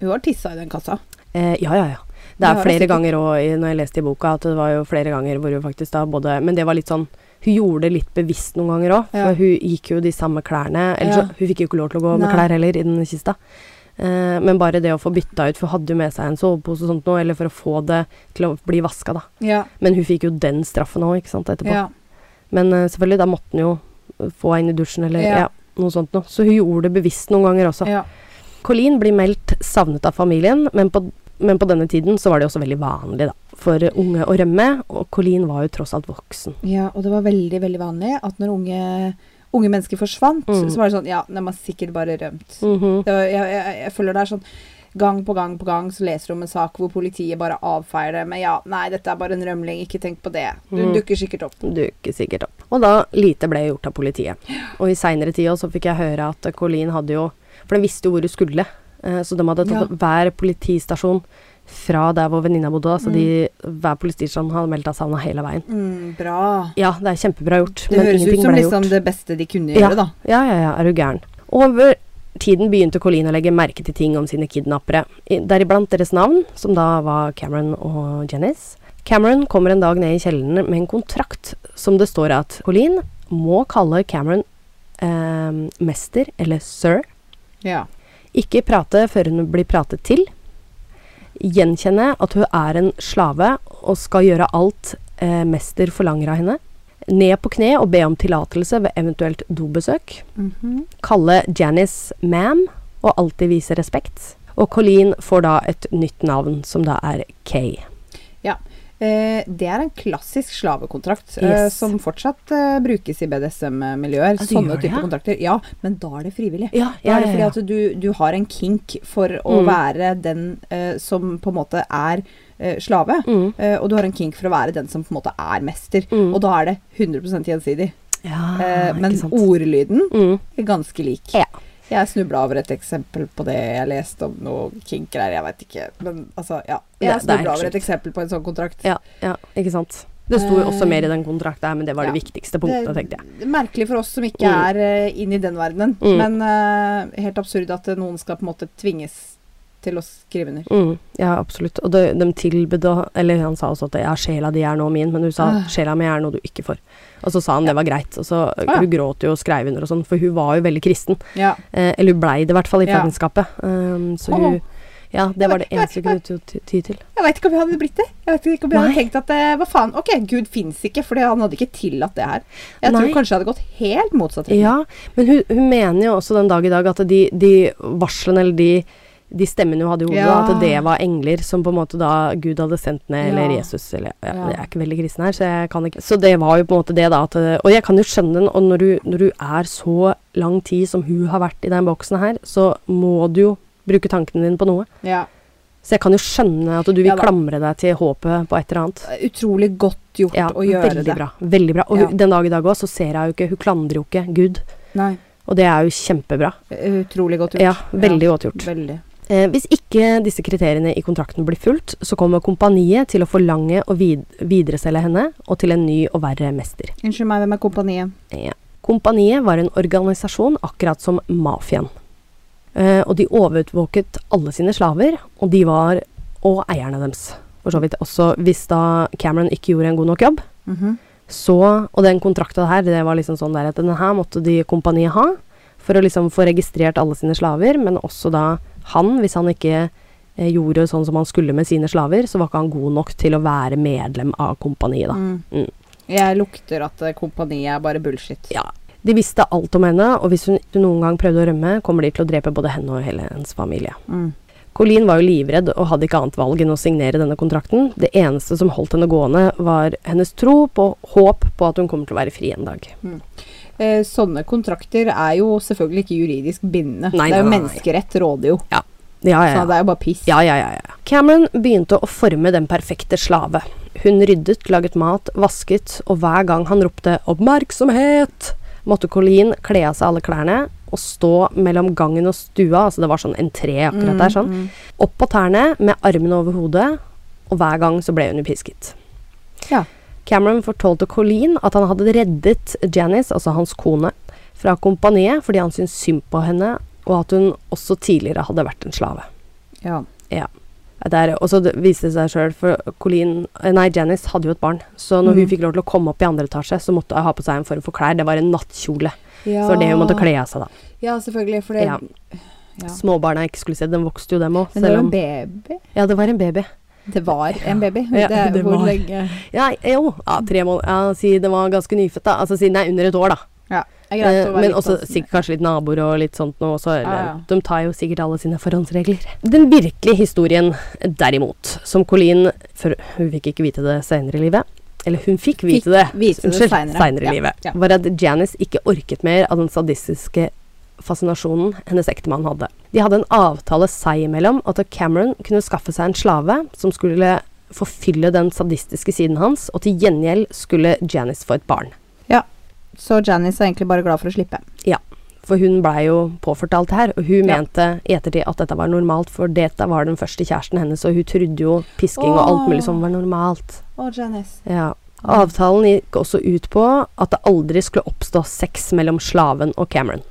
[SPEAKER 2] Hun har tissa i den kassa.
[SPEAKER 1] Eh, ja, ja, ja. Det
[SPEAKER 2] Det
[SPEAKER 1] er
[SPEAKER 2] har jeg
[SPEAKER 1] flere
[SPEAKER 2] sikkert.
[SPEAKER 1] ganger òg, når jeg leste i boka, at det var jo flere ganger hvor hun faktisk da både Men det var litt sånn Hun gjorde det litt bevisst noen ganger òg, for
[SPEAKER 2] Ja.
[SPEAKER 1] hun gikk jo de samme klærne. Eller
[SPEAKER 2] Ja.
[SPEAKER 1] så Hun fikk jo ikke lov til å gå med
[SPEAKER 2] Nei.
[SPEAKER 1] klær heller i den kista. Eh, men bare det å få bytta ut, for hun hadde jo med seg en sovepose og sånt noe, eller for å få det til å bli vaska, da.
[SPEAKER 2] Ja.
[SPEAKER 1] Men hun fikk jo den straffen òg, ikke sant, etterpå.
[SPEAKER 2] ja.
[SPEAKER 1] Men eh, selvfølgelig, da måtte hun jo få henne inn i dusjen eller
[SPEAKER 2] Ja.
[SPEAKER 1] ja, noe sånt noe. Så hun gjorde det bevisst noen ganger også.
[SPEAKER 2] ja.
[SPEAKER 1] Colleen blir meldt savnet av familien, men på, men på denne tiden så var det også veldig vanlig da, for unge å rømme, og Colleen var jo tross alt voksen.
[SPEAKER 2] Ja, og det var veldig, veldig vanlig at når unge, unge mennesker forsvant,
[SPEAKER 1] Mm.
[SPEAKER 2] så var det sånn Ja, de har sikkert bare rømt.
[SPEAKER 1] Mhm.
[SPEAKER 2] Det var, jeg, jeg, jeg føler det er sånn Gang på gang på gang så leser du om en sak hvor politiet bare avfeier det med ja, nei, dette er bare en rømling, ikke tenk på det. Du
[SPEAKER 1] Mm.
[SPEAKER 2] dukker sikkert opp.
[SPEAKER 1] Dukker sikkert opp. Og da lite ble gjort av politiet. Og i seinere tid også fikk jeg høre at Colleen hadde jo For de visste jo hvor hun skulle, eh, så de hadde tatt
[SPEAKER 2] Ja.
[SPEAKER 1] hver politistasjon fra der hvor venninna bodde, da, så
[SPEAKER 2] Mm.
[SPEAKER 1] de, hver politistasjon hadde meldt av savna hele veien.
[SPEAKER 2] Mm, bra.
[SPEAKER 1] Ja, det er kjempebra gjort,
[SPEAKER 2] Det
[SPEAKER 1] men
[SPEAKER 2] høres ut
[SPEAKER 1] ingenting
[SPEAKER 2] som
[SPEAKER 1] ble gjort.
[SPEAKER 2] liksom det beste de kunne
[SPEAKER 1] Ja.
[SPEAKER 2] gjøre, da.
[SPEAKER 1] Ja, ja, ja, er du gæren. Over tiden begynte Colleen å legge merke til ting om sine kidnappere, i- deriblant deres navn, som da var Cameron og Janice. Cameron kommer en dag ned i kjelleren med en kontrakt som det står at Colleen må kalle Cameron eh, mester eller sir,
[SPEAKER 2] Ja.
[SPEAKER 1] ikke prate før hun blir pratet til, gjenkjenne at hun er en slave og skal gjøre alt eh, mester forlanger av henne, ned på kne og be om tillatelse ved eventuelt dobesøk
[SPEAKER 2] Mhm.
[SPEAKER 1] kalle Janice ma'am og alltid vise respekt. Og Colleen får da et nytt navn, som da er Kay.
[SPEAKER 2] ja. Eh, det er en klassisk slavekontrakt eh,
[SPEAKER 1] Yes.
[SPEAKER 2] som fortsatt eh, brukes i BDSM-miljøer.
[SPEAKER 1] det
[SPEAKER 2] Sånne
[SPEAKER 1] gjør det,
[SPEAKER 2] typer
[SPEAKER 1] ja.
[SPEAKER 2] kontrakter. Ja, men da er det frivillig.
[SPEAKER 1] Ja,
[SPEAKER 2] Da er det fordi at du, du har en kink for å
[SPEAKER 1] Mm.
[SPEAKER 2] være den eh, som på en måte er eh, slave,
[SPEAKER 1] Mm.
[SPEAKER 2] eh, og du har en kink for å være den som på en måte er mester.
[SPEAKER 1] Mm.
[SPEAKER 2] Og da er det 100 gjensidig.
[SPEAKER 1] ja,
[SPEAKER 2] Eh,
[SPEAKER 1] ikke
[SPEAKER 2] men
[SPEAKER 1] sant.
[SPEAKER 2] ordlyden
[SPEAKER 1] mm.
[SPEAKER 2] er ganske lik.
[SPEAKER 1] Ja.
[SPEAKER 2] Jeg snubla over et eksempel på det jeg leste om noe kink-greier, jeg veit ikke. Men altså, ja.
[SPEAKER 1] Det- det er
[SPEAKER 2] Jeg
[SPEAKER 1] helt
[SPEAKER 2] snubla over
[SPEAKER 1] sjukt.
[SPEAKER 2] et eksempel på en sånn kontrakt.
[SPEAKER 1] ja, ja, ikke sant. Det sto jo også
[SPEAKER 2] Eh,
[SPEAKER 1] mer i den kontrakten her, men det var det
[SPEAKER 2] ja.
[SPEAKER 1] viktigste punktet, tenkte jeg.
[SPEAKER 2] Det er merkelig for oss som ikke
[SPEAKER 1] Mm.
[SPEAKER 2] er eh, inn i den verdenen,
[SPEAKER 1] Mm.
[SPEAKER 2] men eh, helt absurd at eh, noen skal på en måte tvinges til å skrive under.
[SPEAKER 1] Mm, ja, absolutt. Og det, de tilbød å- Eller han sa også at ja, sjela di er nå min, men hun sa
[SPEAKER 2] Ah.
[SPEAKER 1] sjela mi er noe du ikke får. Og så sa han det var greit, og så
[SPEAKER 2] ja.
[SPEAKER 1] Hun gråt jo og skrev under og sånn, for hun var jo veldig kristen.
[SPEAKER 2] Ja.
[SPEAKER 1] Eh, eller hun blei det i hvert fall i
[SPEAKER 2] Ja.
[SPEAKER 1] fangenskapet. Um, så
[SPEAKER 2] Åh.
[SPEAKER 1] hun Ja, det var det eneste hun kunne ty ty- ty til.
[SPEAKER 2] Jeg veit ikke om jeg hadde blitt det. Jeg vet ikke om jeg hadde
[SPEAKER 1] Nei.
[SPEAKER 2] tenkt at eh, hva faen, ok, Gud fins ikke, for han hadde ikke tillatt det her. Jeg
[SPEAKER 1] Nei.
[SPEAKER 2] tror kanskje jeg hadde gått helt motsatt retning.
[SPEAKER 1] Ja, men hun, hun mener jo også den dag i dag at de, de varslene eller de, de stemmene hun hadde i hodet,
[SPEAKER 2] Ja.
[SPEAKER 1] at det var engler som på en måte da Gud hadde sendt ned, eller
[SPEAKER 2] Ja.
[SPEAKER 1] Jesus eller ja,
[SPEAKER 2] Ja.
[SPEAKER 1] Jeg er ikke veldig kristen her, så jeg kan ikke Så det var jo på en måte det, da. At, og jeg kan jo skjønne den, og når du, når du er så lang tid som hun har vært i den boksen her, så må du jo bruke tankene dine på noe.
[SPEAKER 2] Ja.
[SPEAKER 1] Så jeg kan jo skjønne at du vil
[SPEAKER 2] Ja da.
[SPEAKER 1] klamre deg til håpet på et eller annet.
[SPEAKER 2] Utrolig godt gjort
[SPEAKER 1] Ja,
[SPEAKER 2] å gjøre
[SPEAKER 1] veldig
[SPEAKER 2] det.
[SPEAKER 1] bra. Veldig bra. Og
[SPEAKER 2] Ja.
[SPEAKER 1] hun, den dag i dag òg så ser jeg jo ikke Hun klandrer jo ikke Gud,
[SPEAKER 2] Nei.
[SPEAKER 1] og det er jo kjempebra.
[SPEAKER 2] Utrolig godt gjort.
[SPEAKER 1] Ja, veldig godt gjort.
[SPEAKER 2] Veldig.
[SPEAKER 1] Eh, hvis ikke disse kriteriene i kontrakten blir fulgt, så kommer kompaniet til å forlange å vid videreselge henne, og til en ny og verre mester.
[SPEAKER 2] Unnskyld meg, hvem er kompaniet?
[SPEAKER 1] Ja. Kompaniet var en organisasjon akkurat som mafiaen. Eh, og de overvåket alle sine slaver, og de var og eierne deres. For så vidt også hvis da Cameron ikke gjorde en god nok jobb,
[SPEAKER 2] Mhm.
[SPEAKER 1] så Og den kontrakta her, det var liksom sånn der at denne her måtte de kompaniet ha for å liksom få registrert alle sine slaver, men også da han, hvis han ikke eh, gjorde sånn som han skulle med sine slaver, så var ikke han god nok til å være medlem av kompaniet, da.
[SPEAKER 2] Mm.
[SPEAKER 1] Mm.
[SPEAKER 2] Jeg lukter at eh, kompaniet er bare bullshit.
[SPEAKER 1] Ja. De visste alt om henne, og hvis hun noen gang prøvde å rømme, kommer de til å drepe både henne og hele hennes familie.
[SPEAKER 2] Mm.
[SPEAKER 1] Colleen var jo livredd og hadde ikke annet valg enn å signere denne kontrakten. Det eneste som holdt henne gående, var hennes tro på håp på at hun kommer til å være fri en dag.
[SPEAKER 2] Eh, sånne kontrakter er jo selvfølgelig ikke juridisk bindende.
[SPEAKER 1] Nei,
[SPEAKER 2] det er jo
[SPEAKER 1] nei, nei.
[SPEAKER 2] menneskerett råder jo,
[SPEAKER 1] Ja, ja,
[SPEAKER 2] så
[SPEAKER 1] ja.
[SPEAKER 2] det er jo bare piss.
[SPEAKER 1] Ja, ja, ja, ja. Cameron begynte å forme den perfekte slave. Hun ryddet, laget mat, vasket, og hver gang han ropte 'oppmerksomhet', måtte Colleen kle av seg alle klærne og stå mellom gangen og stua, altså det var sånn entré akkurat
[SPEAKER 2] Mm.
[SPEAKER 1] der, sånn, opp på tærne med armene over hodet, og hver gang så ble hun pisket.
[SPEAKER 2] Ja.
[SPEAKER 1] Cameron fortalte Colleen at han hadde reddet Janice, altså hans kone, fra kompaniet fordi han syntes synd på henne, og at hun også tidligere hadde vært en slave.
[SPEAKER 2] mm. Ja.
[SPEAKER 1] Ja, Det er, og så det- viste det seg sjøl, for Colleen eh, Nei, Janice hadde jo et barn. Så når hun
[SPEAKER 2] Mhm.
[SPEAKER 1] fikk lov til å komme opp i andre etasje, så måtte hun ha på seg en form for klær. Det var en nattkjole.
[SPEAKER 2] Ja.
[SPEAKER 1] Så det var det hun måtte kle av seg, da.
[SPEAKER 2] Ja, selvfølgelig, for det
[SPEAKER 1] Ja.
[SPEAKER 2] Ja.
[SPEAKER 1] Småbarna er eksklusive. Den vokste jo, dem òg.
[SPEAKER 2] Men det var
[SPEAKER 1] Selv
[SPEAKER 2] en
[SPEAKER 1] om
[SPEAKER 2] baby.
[SPEAKER 1] Ja, det var en baby.
[SPEAKER 2] Det var en baby.
[SPEAKER 1] Ja,
[SPEAKER 2] det,
[SPEAKER 1] det
[SPEAKER 2] hvor
[SPEAKER 1] var.
[SPEAKER 2] lenge
[SPEAKER 1] Ja, jo. Ja, tre måneder. Ja, si den var ganske nyfødt, da. Altså si den er under et år, da.
[SPEAKER 2] Ja, det er greit
[SPEAKER 1] Eh,
[SPEAKER 2] å være
[SPEAKER 1] Men
[SPEAKER 2] litt
[SPEAKER 1] også
[SPEAKER 2] sånn-
[SPEAKER 1] sikkert kanskje litt naboer og litt sånt nå også. Eller,
[SPEAKER 2] Ja, ja.
[SPEAKER 1] De tar jo sikkert alle sine forhåndsregler. Den virkelige historien derimot, som Colleen for Hun fikk ikke vite det senere i livet. Eller hun fikk vite det,
[SPEAKER 2] vite det
[SPEAKER 1] unnskyld,
[SPEAKER 2] senere.
[SPEAKER 1] senere i
[SPEAKER 2] Ja,
[SPEAKER 1] livet.
[SPEAKER 2] ja.
[SPEAKER 1] Var at Janice ikke orket mer av den sadistiske fascinasjonen hennes ektemann hadde. De hadde en avtale seg imellom at Cameron kunne skaffe seg en slave som skulle forfylle den sadistiske siden hans, og til gjengjeld skulle Janice få et barn.
[SPEAKER 2] Så Janice er egentlig bare glad for å slippe.
[SPEAKER 1] For hun blei jo påført alt det her, og hun
[SPEAKER 2] Ja.
[SPEAKER 1] mente i ettertid at dette var normalt, for dette var den første kjæresten hennes, og hun trodde jo pisking og alt mulig som var normalt.
[SPEAKER 2] Å, Janice.
[SPEAKER 1] Ja. Avtalen gikk også ut på at det aldri skulle oppstå sex mellom slaven og Cameron.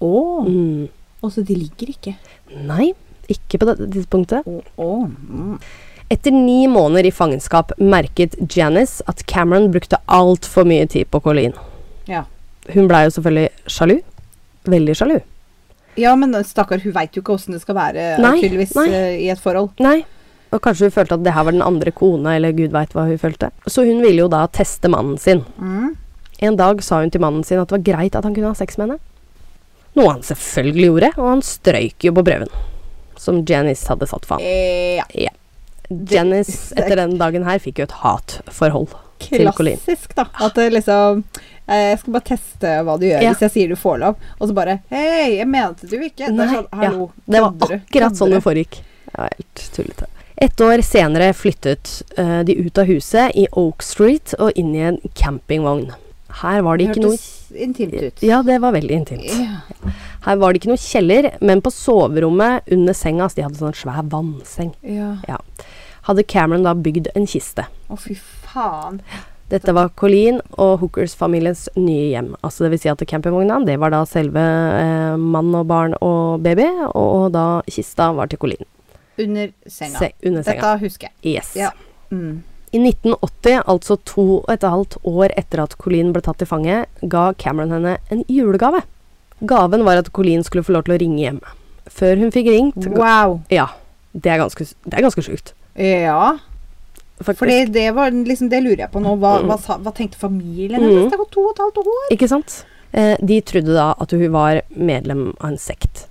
[SPEAKER 2] Å,
[SPEAKER 1] Mm.
[SPEAKER 2] og så de ligger ikke.
[SPEAKER 1] Nei, ikke på dette tidspunktet.
[SPEAKER 2] Å, mm.
[SPEAKER 1] Etter ni måneder i fangenskap merket Janice at Cameron brukte altfor mye tid på Colleen.
[SPEAKER 2] Ja.
[SPEAKER 1] Hun blei jo selvfølgelig sjalu. Veldig sjalu.
[SPEAKER 2] ja, men stakkar, hun veit jo ikke åssen det skal være
[SPEAKER 1] Nei,
[SPEAKER 2] tydeligvis
[SPEAKER 1] nei.
[SPEAKER 2] eh, i et forhold.
[SPEAKER 1] Nei. Og kanskje hun følte at det her var den andre kona, eller gud veit hva hun følte. Så hun ville jo da teste mannen sin.
[SPEAKER 2] Mm.
[SPEAKER 1] En dag sa hun til mannen sin at det var greit at han kunne ha sex med henne. Noe han selvfølgelig gjorde, og han strøyk jo på prøven. Som Janice hadde satt for ham.
[SPEAKER 2] Eh, ja.
[SPEAKER 1] Janice etter den dagen her fikk jo et hatforhold. Til Colleen.
[SPEAKER 2] Klassisk, da. At det liksom eh, Jeg skal bare teste hva du gjør
[SPEAKER 1] Ja.
[SPEAKER 2] hvis jeg sier du får lov, og så bare Hei, jeg mente du ikke. Det er
[SPEAKER 1] Nei,
[SPEAKER 2] sånn,
[SPEAKER 1] ja.
[SPEAKER 2] hallo.
[SPEAKER 1] Det var
[SPEAKER 2] kødder du?
[SPEAKER 1] akkurat sånn
[SPEAKER 2] Kødder
[SPEAKER 1] det foregikk. Det var helt tullete. Et år senere flyttet eh, de ut av huset i Oak Street og inn i en campingvogn. Her var det ikke noe
[SPEAKER 2] Hørtes intimt ut.
[SPEAKER 1] Ja, det var veldig intimt.
[SPEAKER 2] Ja.
[SPEAKER 1] Her var det ikke noe kjeller, men på soverommet under senga, altså de hadde sånn svær vannseng,
[SPEAKER 2] ja.
[SPEAKER 1] hadde Cameron da bygd en kiste.
[SPEAKER 2] Å, fy faen.
[SPEAKER 1] Dette var Colleen og Hookers-familiens nye hjem. Altså det vil si at campingvogna, det var da selve eh, mann og barn og baby, og, og da kista var til Colleen.
[SPEAKER 2] Under senga.
[SPEAKER 1] Se, under senga.
[SPEAKER 2] Dette husker jeg.
[SPEAKER 1] Yes.
[SPEAKER 2] Ja. Mm.
[SPEAKER 1] I 1980, altså to og et halvt år etter at Colleen ble tatt til fange, ga Cameron henne en julegave. Gaven var at Colleen skulle få lov til å ringe hjem. Før hun fikk ringt,
[SPEAKER 2] Wow.
[SPEAKER 1] Ja. Det er ganske, det er ganske sjukt.
[SPEAKER 2] Ja.
[SPEAKER 1] faktisk.
[SPEAKER 2] Fordi det var liksom Det lurer jeg på nå. Hva,
[SPEAKER 1] Mm.
[SPEAKER 2] hva, sa- hva tenkte familien
[SPEAKER 1] Mm.
[SPEAKER 2] hennes? Det har gått to og et halvt år.
[SPEAKER 1] Ikke sant? Eh, de trodde da at hun var medlem av en sekt.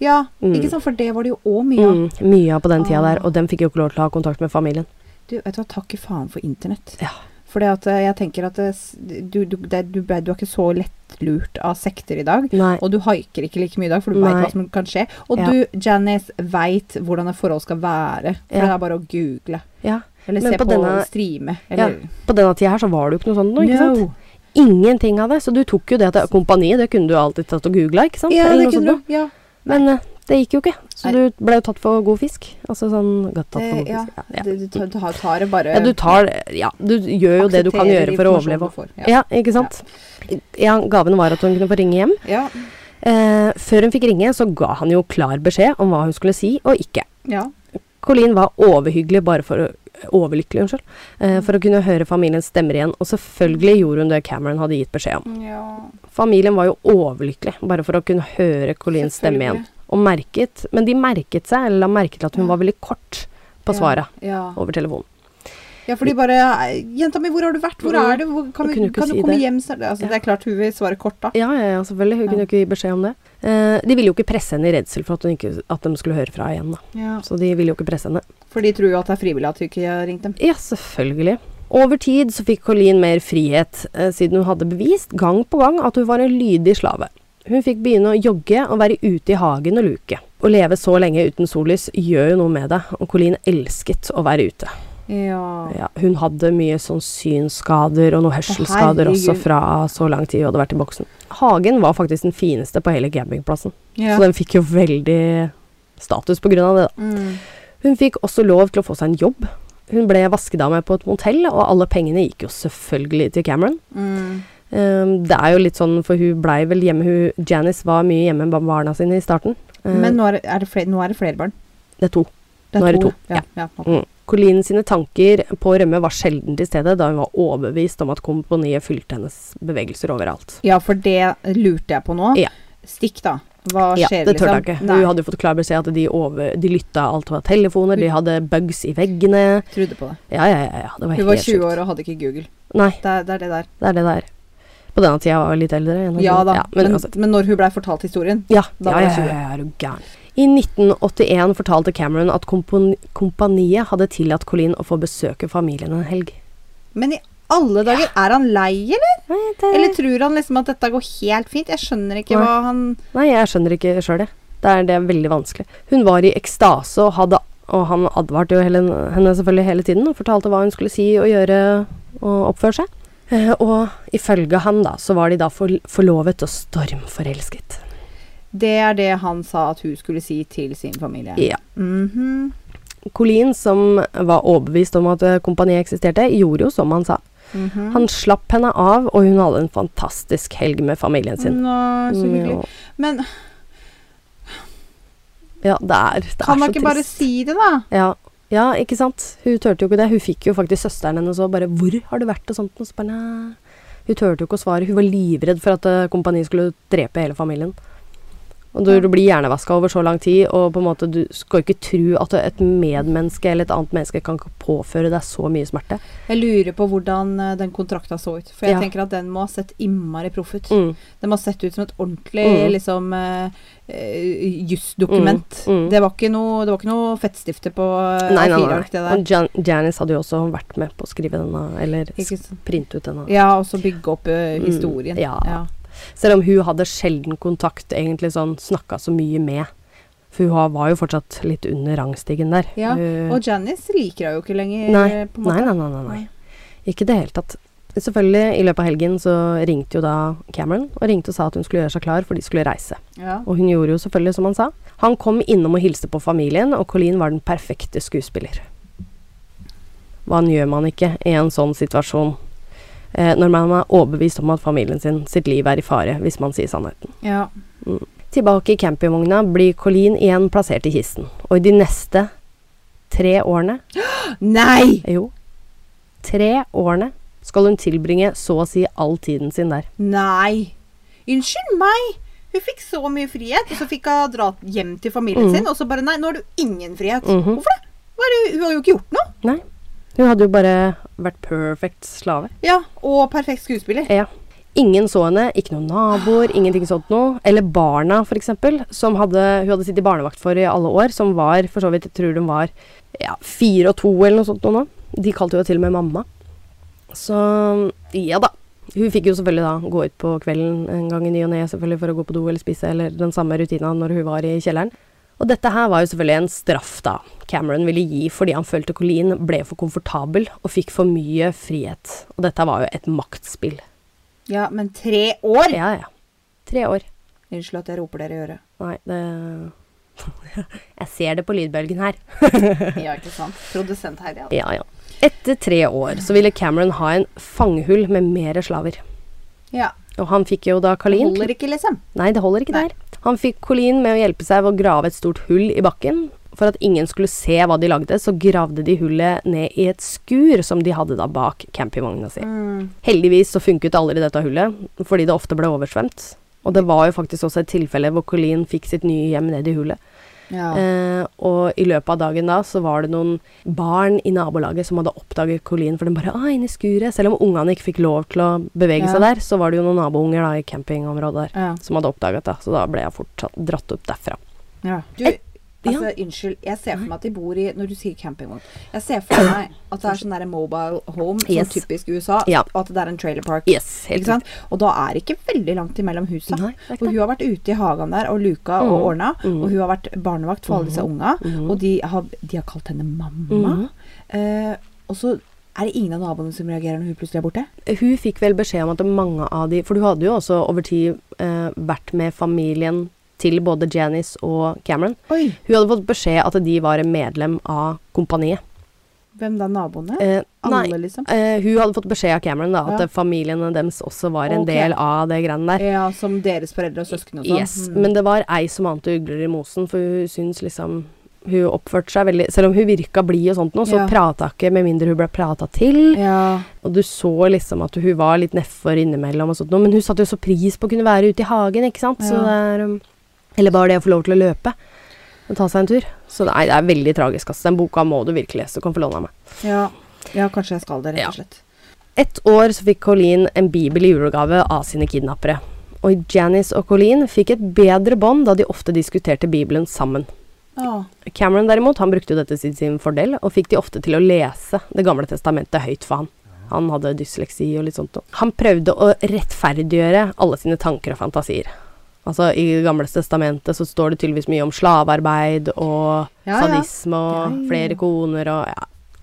[SPEAKER 2] Ja,
[SPEAKER 1] Mm.
[SPEAKER 2] ikke sant? For det var det jo òg mye av.
[SPEAKER 1] Mm, mye på den tida
[SPEAKER 2] Ah.
[SPEAKER 1] der, og dem fikk jo ikke lov til å ha kontakt med familien.
[SPEAKER 2] Du, vet du hva, takk i faen for internett.
[SPEAKER 1] Ja.
[SPEAKER 2] For jeg tenker at det, s- du, du, det, du, ble- du er ikke så lettlurt av sekter i dag.
[SPEAKER 1] Nei.
[SPEAKER 2] Og du haiker ikke like mye i dag, for du veit
[SPEAKER 1] Nei.
[SPEAKER 2] hva som kan skje. Og
[SPEAKER 1] Ja.
[SPEAKER 2] du, Janice, veit hvordan et forhold skal være. For
[SPEAKER 1] Ja.
[SPEAKER 2] det er bare å google.
[SPEAKER 1] Ja.
[SPEAKER 2] Eller
[SPEAKER 1] Men
[SPEAKER 2] se
[SPEAKER 1] på
[SPEAKER 2] på,
[SPEAKER 1] denne-
[SPEAKER 2] streame.
[SPEAKER 1] Ja,
[SPEAKER 2] Eller
[SPEAKER 1] på denne tida her så var det jo ikke noe sånt nå, ikke sant?
[SPEAKER 2] No.
[SPEAKER 1] Ingenting av det. Så du tok jo det til kompaniet, det kunne du alltid tatt og googla, ikke sant?
[SPEAKER 2] Ja,
[SPEAKER 1] Eller
[SPEAKER 2] det
[SPEAKER 1] Sånn, noe
[SPEAKER 2] kunne
[SPEAKER 1] sånt
[SPEAKER 2] du. Ja.
[SPEAKER 1] noe. Men eh, det gikk jo ikke. Så
[SPEAKER 2] Nei.
[SPEAKER 1] du ble jo tatt for god fisk. Altså sånn godt tatt for
[SPEAKER 2] Eh,
[SPEAKER 1] god
[SPEAKER 2] ja.
[SPEAKER 1] fisk. Ja, ja.
[SPEAKER 2] Du, du tar, du tar det bare
[SPEAKER 1] ja, du tar Ja, du gjør jo det du kan
[SPEAKER 2] aksepterer
[SPEAKER 1] gjøre for å
[SPEAKER 2] informasjonen
[SPEAKER 1] overleve.
[SPEAKER 2] du får, Ja.
[SPEAKER 1] Ja, ikke sant? Ja, gaven var at hun kunne få ringe hjem.
[SPEAKER 2] Ja.
[SPEAKER 1] Eh, før hun fikk ringe, så ga han jo klar beskjed om hva hun skulle si og ikke.
[SPEAKER 2] ja.
[SPEAKER 1] Colleen var overhyggelig bare for å Overlykkelig, unnskyld. Eh, for å kunne høre familiens stemmer igjen. Og selvfølgelig gjorde hun det Cameron hadde gitt beskjed om.
[SPEAKER 2] ja.
[SPEAKER 1] Familien var jo overlykkelig bare for å kunne høre Colleens stemme igjen.
[SPEAKER 2] selvfølgelig.
[SPEAKER 1] og merket Men de merket seg, eller la merke til at hun var veldig kort på svaret
[SPEAKER 2] Ja, ja.
[SPEAKER 1] over telefonen.
[SPEAKER 2] ja for de bare 'Jenta mi, hvor har du vært? Hvor
[SPEAKER 1] Mm.
[SPEAKER 2] er du? Hvor, kan
[SPEAKER 1] Jeg
[SPEAKER 2] vi,
[SPEAKER 1] kunne ikke
[SPEAKER 2] kan
[SPEAKER 1] si
[SPEAKER 2] du komme
[SPEAKER 1] det.
[SPEAKER 2] hjem snart?' Altså,
[SPEAKER 1] Ja.
[SPEAKER 2] Det er klart hun vil svare kort da.
[SPEAKER 1] Ja, ja, ja, selvfølgelig. Hun kunne
[SPEAKER 2] Ja.
[SPEAKER 1] jo ikke gi beskjed om det. Eh, de ville jo ikke presse henne i redsel for at, hun ikke, at de skulle høre fra igjen. Da.
[SPEAKER 2] Ja.
[SPEAKER 1] Så de ville jo ikke presse henne.
[SPEAKER 2] For de tror jo at det er frivillig at hun ikke har ringt dem.
[SPEAKER 1] Ja, selvfølgelig. Over tid så fikk Colleen mer frihet, eh, siden hun hadde bevist gang på gang at hun var en lydig slave. Hun fikk begynne å jogge og være ute i hagen og luke. Å leve så lenge uten sollys gjør jo noe med deg, og Colleen elsket å være ute.
[SPEAKER 2] Ja.
[SPEAKER 1] Ja, hun hadde mye sånn synsskader og noen hørselsskader også
[SPEAKER 2] herregud.
[SPEAKER 1] fra så lang tid hun hadde vært i boksen. Hagen var faktisk den fineste på hele campingplassen,
[SPEAKER 2] ja.
[SPEAKER 1] så den fikk jo veldig status på grunn av det. da.
[SPEAKER 2] Mm.
[SPEAKER 1] Hun fikk også lov til å få seg en jobb. Hun ble vaskedame på et motell, og alle pengene gikk jo selvfølgelig til Cameron.
[SPEAKER 2] Mm.
[SPEAKER 1] Ehm, det er jo litt sånn, for hun blei vel hjemme hun, Janice var mye hjemme med barna sine i starten. Ehm,
[SPEAKER 2] Men nå er, det- er det flere, nå er det flere barn.
[SPEAKER 1] det er to.
[SPEAKER 2] Det
[SPEAKER 1] Nå er det to,
[SPEAKER 2] Ja, ja. ok.
[SPEAKER 1] Mm. Colleen sine tanker på å rømme var sjelden til stede, da hun var overbevist om at komponiet fylte hennes bevegelser overalt.
[SPEAKER 2] ja, for det lurte jeg på nå.
[SPEAKER 1] Ja.
[SPEAKER 2] Stikk, da. Hva
[SPEAKER 1] Ja,
[SPEAKER 2] skjer,
[SPEAKER 1] det tørte hun
[SPEAKER 2] liksom?
[SPEAKER 1] ikke.
[SPEAKER 2] Nei,
[SPEAKER 1] Hun hadde jo fått klar beskjed at de, over, de lytta alt over telefoner, de hadde bugs i veggene.
[SPEAKER 2] trodde på det.
[SPEAKER 1] Ja, ja, ja. ja det var
[SPEAKER 2] Hun
[SPEAKER 1] helt
[SPEAKER 2] var 20
[SPEAKER 1] sjukt.
[SPEAKER 2] år og hadde ikke Google.
[SPEAKER 1] Nei,
[SPEAKER 2] Det er det, er det der.
[SPEAKER 1] det er det det er. På denne tida var hun litt eldre. enn hun
[SPEAKER 2] Ja
[SPEAKER 1] trodde.
[SPEAKER 2] da.
[SPEAKER 1] men altså-
[SPEAKER 2] men,
[SPEAKER 1] uansett.
[SPEAKER 2] men når hun blei fortalt historien
[SPEAKER 1] Ja,
[SPEAKER 2] Da
[SPEAKER 1] ja,
[SPEAKER 2] var
[SPEAKER 1] ja,
[SPEAKER 2] jeg
[SPEAKER 1] ja,
[SPEAKER 2] tjue.
[SPEAKER 1] ja, er du gæren. I 1981 fortalte Cameron at kompon- kompaniet hadde tillatt Colleen å få besøke familien en helg.
[SPEAKER 2] Men i alle dager, er han lei, eller?
[SPEAKER 1] Nei, det,
[SPEAKER 2] Eller tror han liksom at dette går helt fint? Jeg skjønner ikke
[SPEAKER 1] Nei.
[SPEAKER 2] hva han
[SPEAKER 1] nei jeg skjønner ikke sjøl, jeg. Det er, det er veldig vanskelig. Hun var i ekstase, og, hadde, og han advarte jo hele, henne selvfølgelig hele tiden og fortalte hva hun skulle si og gjøre og oppføre seg. Eh, Og ifølge han, da, så var de da for, forlovet og stormforelsket.
[SPEAKER 2] Det er det han sa at hun skulle si til sin familie.
[SPEAKER 1] Ja.
[SPEAKER 2] Mhm.
[SPEAKER 1] Colleen, som var overbevist om at eh, kompaniet eksisterte, gjorde jo som han sa.
[SPEAKER 2] Mhm.
[SPEAKER 1] Han slapp henne av, og hun hadde en fantastisk helg med familien sin.
[SPEAKER 2] Nå, så hyggelig.
[SPEAKER 1] Mm,
[SPEAKER 2] Men
[SPEAKER 1] Ja, det er, det
[SPEAKER 2] kan
[SPEAKER 1] er
[SPEAKER 2] man
[SPEAKER 1] så
[SPEAKER 2] ikke bare
[SPEAKER 1] trist.
[SPEAKER 2] si det, da?
[SPEAKER 1] Ja. ja, ikke sant? Hun turte jo ikke det. Hun fikk jo faktisk søsteren hennes og bare 'Hvor har du vært?' og sånt. Og så bare, nei. Hun turte jo ikke å svare. Hun var livredd for at eh, kompaniet skulle drepe hele familien. Og du,
[SPEAKER 2] Ja.
[SPEAKER 1] du blir hjernevaska over så lang tid, og på en måte du skal ikke tro at et medmenneske eller et annet menneske kan påføre deg så mye smerte.
[SPEAKER 2] Jeg lurer på hvordan eh, den kontrakta så ut. For jeg
[SPEAKER 1] Ja.
[SPEAKER 2] tenker at den må ha sett innmari proff ut.
[SPEAKER 1] Mm.
[SPEAKER 2] Den må ha sett ut som et ordentlig
[SPEAKER 1] Mm.
[SPEAKER 2] liksom, eh, eh, jusdokument.
[SPEAKER 1] Mm, mm.
[SPEAKER 2] Det, var ikke noe- det var ikke noe fettstifte på eh,
[SPEAKER 1] Nei, nei, nei.
[SPEAKER 2] A4-ark, det
[SPEAKER 1] nei.
[SPEAKER 2] der.
[SPEAKER 1] Og Jan Janice hadde jo også vært med på å skrive denne, eller
[SPEAKER 2] Ikke sant?
[SPEAKER 1] printe ut denne.
[SPEAKER 2] Ja, og så bygge opp eh,
[SPEAKER 1] Mm,
[SPEAKER 2] historien.
[SPEAKER 1] ja. Selv om hun hadde sjelden kontakt, egentlig sånn snakka så mye med. For hun har- var jo fortsatt litt under rangstigen der.
[SPEAKER 2] Ja,
[SPEAKER 1] Hun-
[SPEAKER 2] Og Janice liker deg jo ikke lenger, eh, på en måte.
[SPEAKER 1] nei, nei, nei, nei, nei. Ikke i det hele tatt. Selvfølgelig, i løpet av helgen så ringte jo da Cameron og ringte og sa at hun skulle gjøre seg klar, for de skulle reise.
[SPEAKER 2] Ja.
[SPEAKER 1] Og hun gjorde jo selvfølgelig som han sa. Han kom innom og hilste på familien, og Colleen var den perfekte skuespiller. Hva gjør man ikke i en sånn situasjon? Eh, når man er overbevist om at familien sin sitt liv er i fare, hvis man sier sannheten.
[SPEAKER 2] Ja.
[SPEAKER 1] Tilbake i campingvogna blir Colleen igjen plassert i kisten. Og i de neste tre årene
[SPEAKER 2] Nei!
[SPEAKER 1] Jo, tre årene skal hun tilbringe så å si all tiden sin der.
[SPEAKER 2] Nei! Unnskyld meg! Hun fikk så mye frihet, og så fikk hun dra hjem til familien
[SPEAKER 1] Mhm.
[SPEAKER 2] sin, og så bare Nei, nå har du ingen frihet.
[SPEAKER 1] Mhm.
[SPEAKER 2] Hvorfor det? Hva er det? Hun har jo ikke gjort noe.
[SPEAKER 1] Nei. Hun hadde jo bare vært perfect slave.
[SPEAKER 2] Ja, Og perfekt skuespiller.
[SPEAKER 1] Ja. Ingen så henne, ikke noen naboer, ingenting sånt noe. Eller barna, for eksempel, som hadde, hun hadde sittet i barnevakt for i alle år, som var, for så vidt, jeg tror de var ja, fire og to eller noe sånt noe nå. De kalte jo til og med mamma. Så ja da. Hun fikk jo selvfølgelig da gå ut på kvelden en gang i ny og ne selvfølgelig for å gå på do eller spise, eller den samme rutina når hun var i kjelleren. Og dette her var jo selvfølgelig en straff, da. Cameron ville gi fordi han følte Colleen ble for komfortabel og fikk for mye frihet. Og dette var jo et maktspill.
[SPEAKER 2] Ja, men tre år!
[SPEAKER 1] Ja, ja. Tre år.
[SPEAKER 2] Unnskyld at jeg roper dere i øret.
[SPEAKER 1] Nei, det Jeg ser det på lydbølgen her.
[SPEAKER 2] Ja, ikke sant? Produsent Heidi. Ja.
[SPEAKER 1] Ja, ja. Etter tre år så ville Cameron ha en fangehull med mere slaver.
[SPEAKER 2] ja.
[SPEAKER 1] Og han fikk jo da Colleen
[SPEAKER 2] Holder ikke, liksom.
[SPEAKER 1] Nei, det holder ikke
[SPEAKER 2] Nei.
[SPEAKER 1] der. Han fikk Colleen med å hjelpe seg ved å grave et stort hull i bakken. For at ingen skulle se hva de lagde, så gravde de hullet ned i et skur som de hadde da
[SPEAKER 2] Mm.
[SPEAKER 1] bak campingvogna si. Heldigvis så funket aldri dette hullet, fordi det ofte ble oversvømt. Og det var jo faktisk også et tilfelle hvor Colleen fikk sitt nye hjem ned i hulet.
[SPEAKER 2] Ja.
[SPEAKER 1] Eh, og i løpet av dagen da så var det noen barn i nabolaget som hadde oppdaget Colleen, for den bare ah, inne i skuret. Selv om ungene ikke fikk lov til å bevege
[SPEAKER 2] Ja.
[SPEAKER 1] seg der, så var det jo noen nabounger da i campingområdet der
[SPEAKER 2] ja.
[SPEAKER 1] som hadde oppdaget det. Så da ble jeg fort tatt- dratt opp derfra.
[SPEAKER 2] ja. Du,
[SPEAKER 1] Ja.
[SPEAKER 2] altså, unnskyld. Jeg ser for meg at de bor i Når du sier campingvogn Jeg ser for meg at det er sånn der mobile home,
[SPEAKER 1] Yes.
[SPEAKER 2] sånn typisk USA,
[SPEAKER 1] Ja.
[SPEAKER 2] og at det er en trailer park.
[SPEAKER 1] Yes, helt
[SPEAKER 2] Ikke sant? Og da er det ikke veldig langt imellom husa.
[SPEAKER 1] Nei, det er ikke Mm. det.
[SPEAKER 2] og hun har vært ute i hagen der og luka og ordna, og hun har vært barnevakt for alle disse
[SPEAKER 1] Mm.
[SPEAKER 2] unga, og de har, de har kalt henne
[SPEAKER 1] Mhm.
[SPEAKER 2] mamma. Eh, og så er det ingen av naboene som reagerer når hun plutselig er borte.
[SPEAKER 1] hun fikk vel beskjed om at mange av de For du hadde jo også over tid eh, vært med familien til både Janice og Cameron.
[SPEAKER 2] Oi,
[SPEAKER 1] Hun hadde fått beskjed at de var en medlem av kompaniet.
[SPEAKER 2] Hvem da? Naboene?
[SPEAKER 1] Eh, nei,
[SPEAKER 2] Alle, liksom?
[SPEAKER 1] eh, hun hadde fått beskjed av Cameron da, at
[SPEAKER 2] Ja.
[SPEAKER 1] eh, familiene deres også var en
[SPEAKER 2] Ok.
[SPEAKER 1] del av det greiene der.
[SPEAKER 2] Ja, som deres foreldre og søsken og sånn?
[SPEAKER 1] Yes,
[SPEAKER 2] Mm.
[SPEAKER 1] Men det var ei som ante ugler i mosen, for hun syns liksom Hun oppførte seg veldig Selv om hun virka blid og sånt nå, så
[SPEAKER 2] Ja.
[SPEAKER 1] prata ikke med mindre hun ble prata til.
[SPEAKER 2] Ja.
[SPEAKER 1] Og du så liksom at hun var litt nedfor innimellom, og sånt, noe, men hun satte jo så pris på å kunne være ute i hagen. ikke sant? Så
[SPEAKER 2] Ja.
[SPEAKER 1] det er, um, eller bare det å få lov til å løpe og ta seg en tur. Så det er, det er veldig tragisk. Altså. Den boka må du virkelig lese. Du kan få låne av meg.
[SPEAKER 2] ja. Ja, kanskje jeg skal det, rett
[SPEAKER 1] Ja.
[SPEAKER 2] og slett.
[SPEAKER 1] Ett år så fikk Colleen en bibel i julegave av sine kidnappere. Og Janice og Colleen fikk et bedre bånd da de ofte diskuterte Bibelen sammen.
[SPEAKER 2] Ja.
[SPEAKER 1] Cameron derimot, han brukte jo dette til sin fordel, og fikk de ofte til å lese Det gamle testamentet høyt for han. Han hadde dysleksi og litt sånt. og Han prøvde å rettferdiggjøre alle sine tanker og fantasier. Altså, I Det gamle testamentet så står det tydeligvis mye om slavearbeid og
[SPEAKER 2] Ja, ja.
[SPEAKER 1] sadisme og
[SPEAKER 2] Ja, ja.
[SPEAKER 1] flere koner og ja,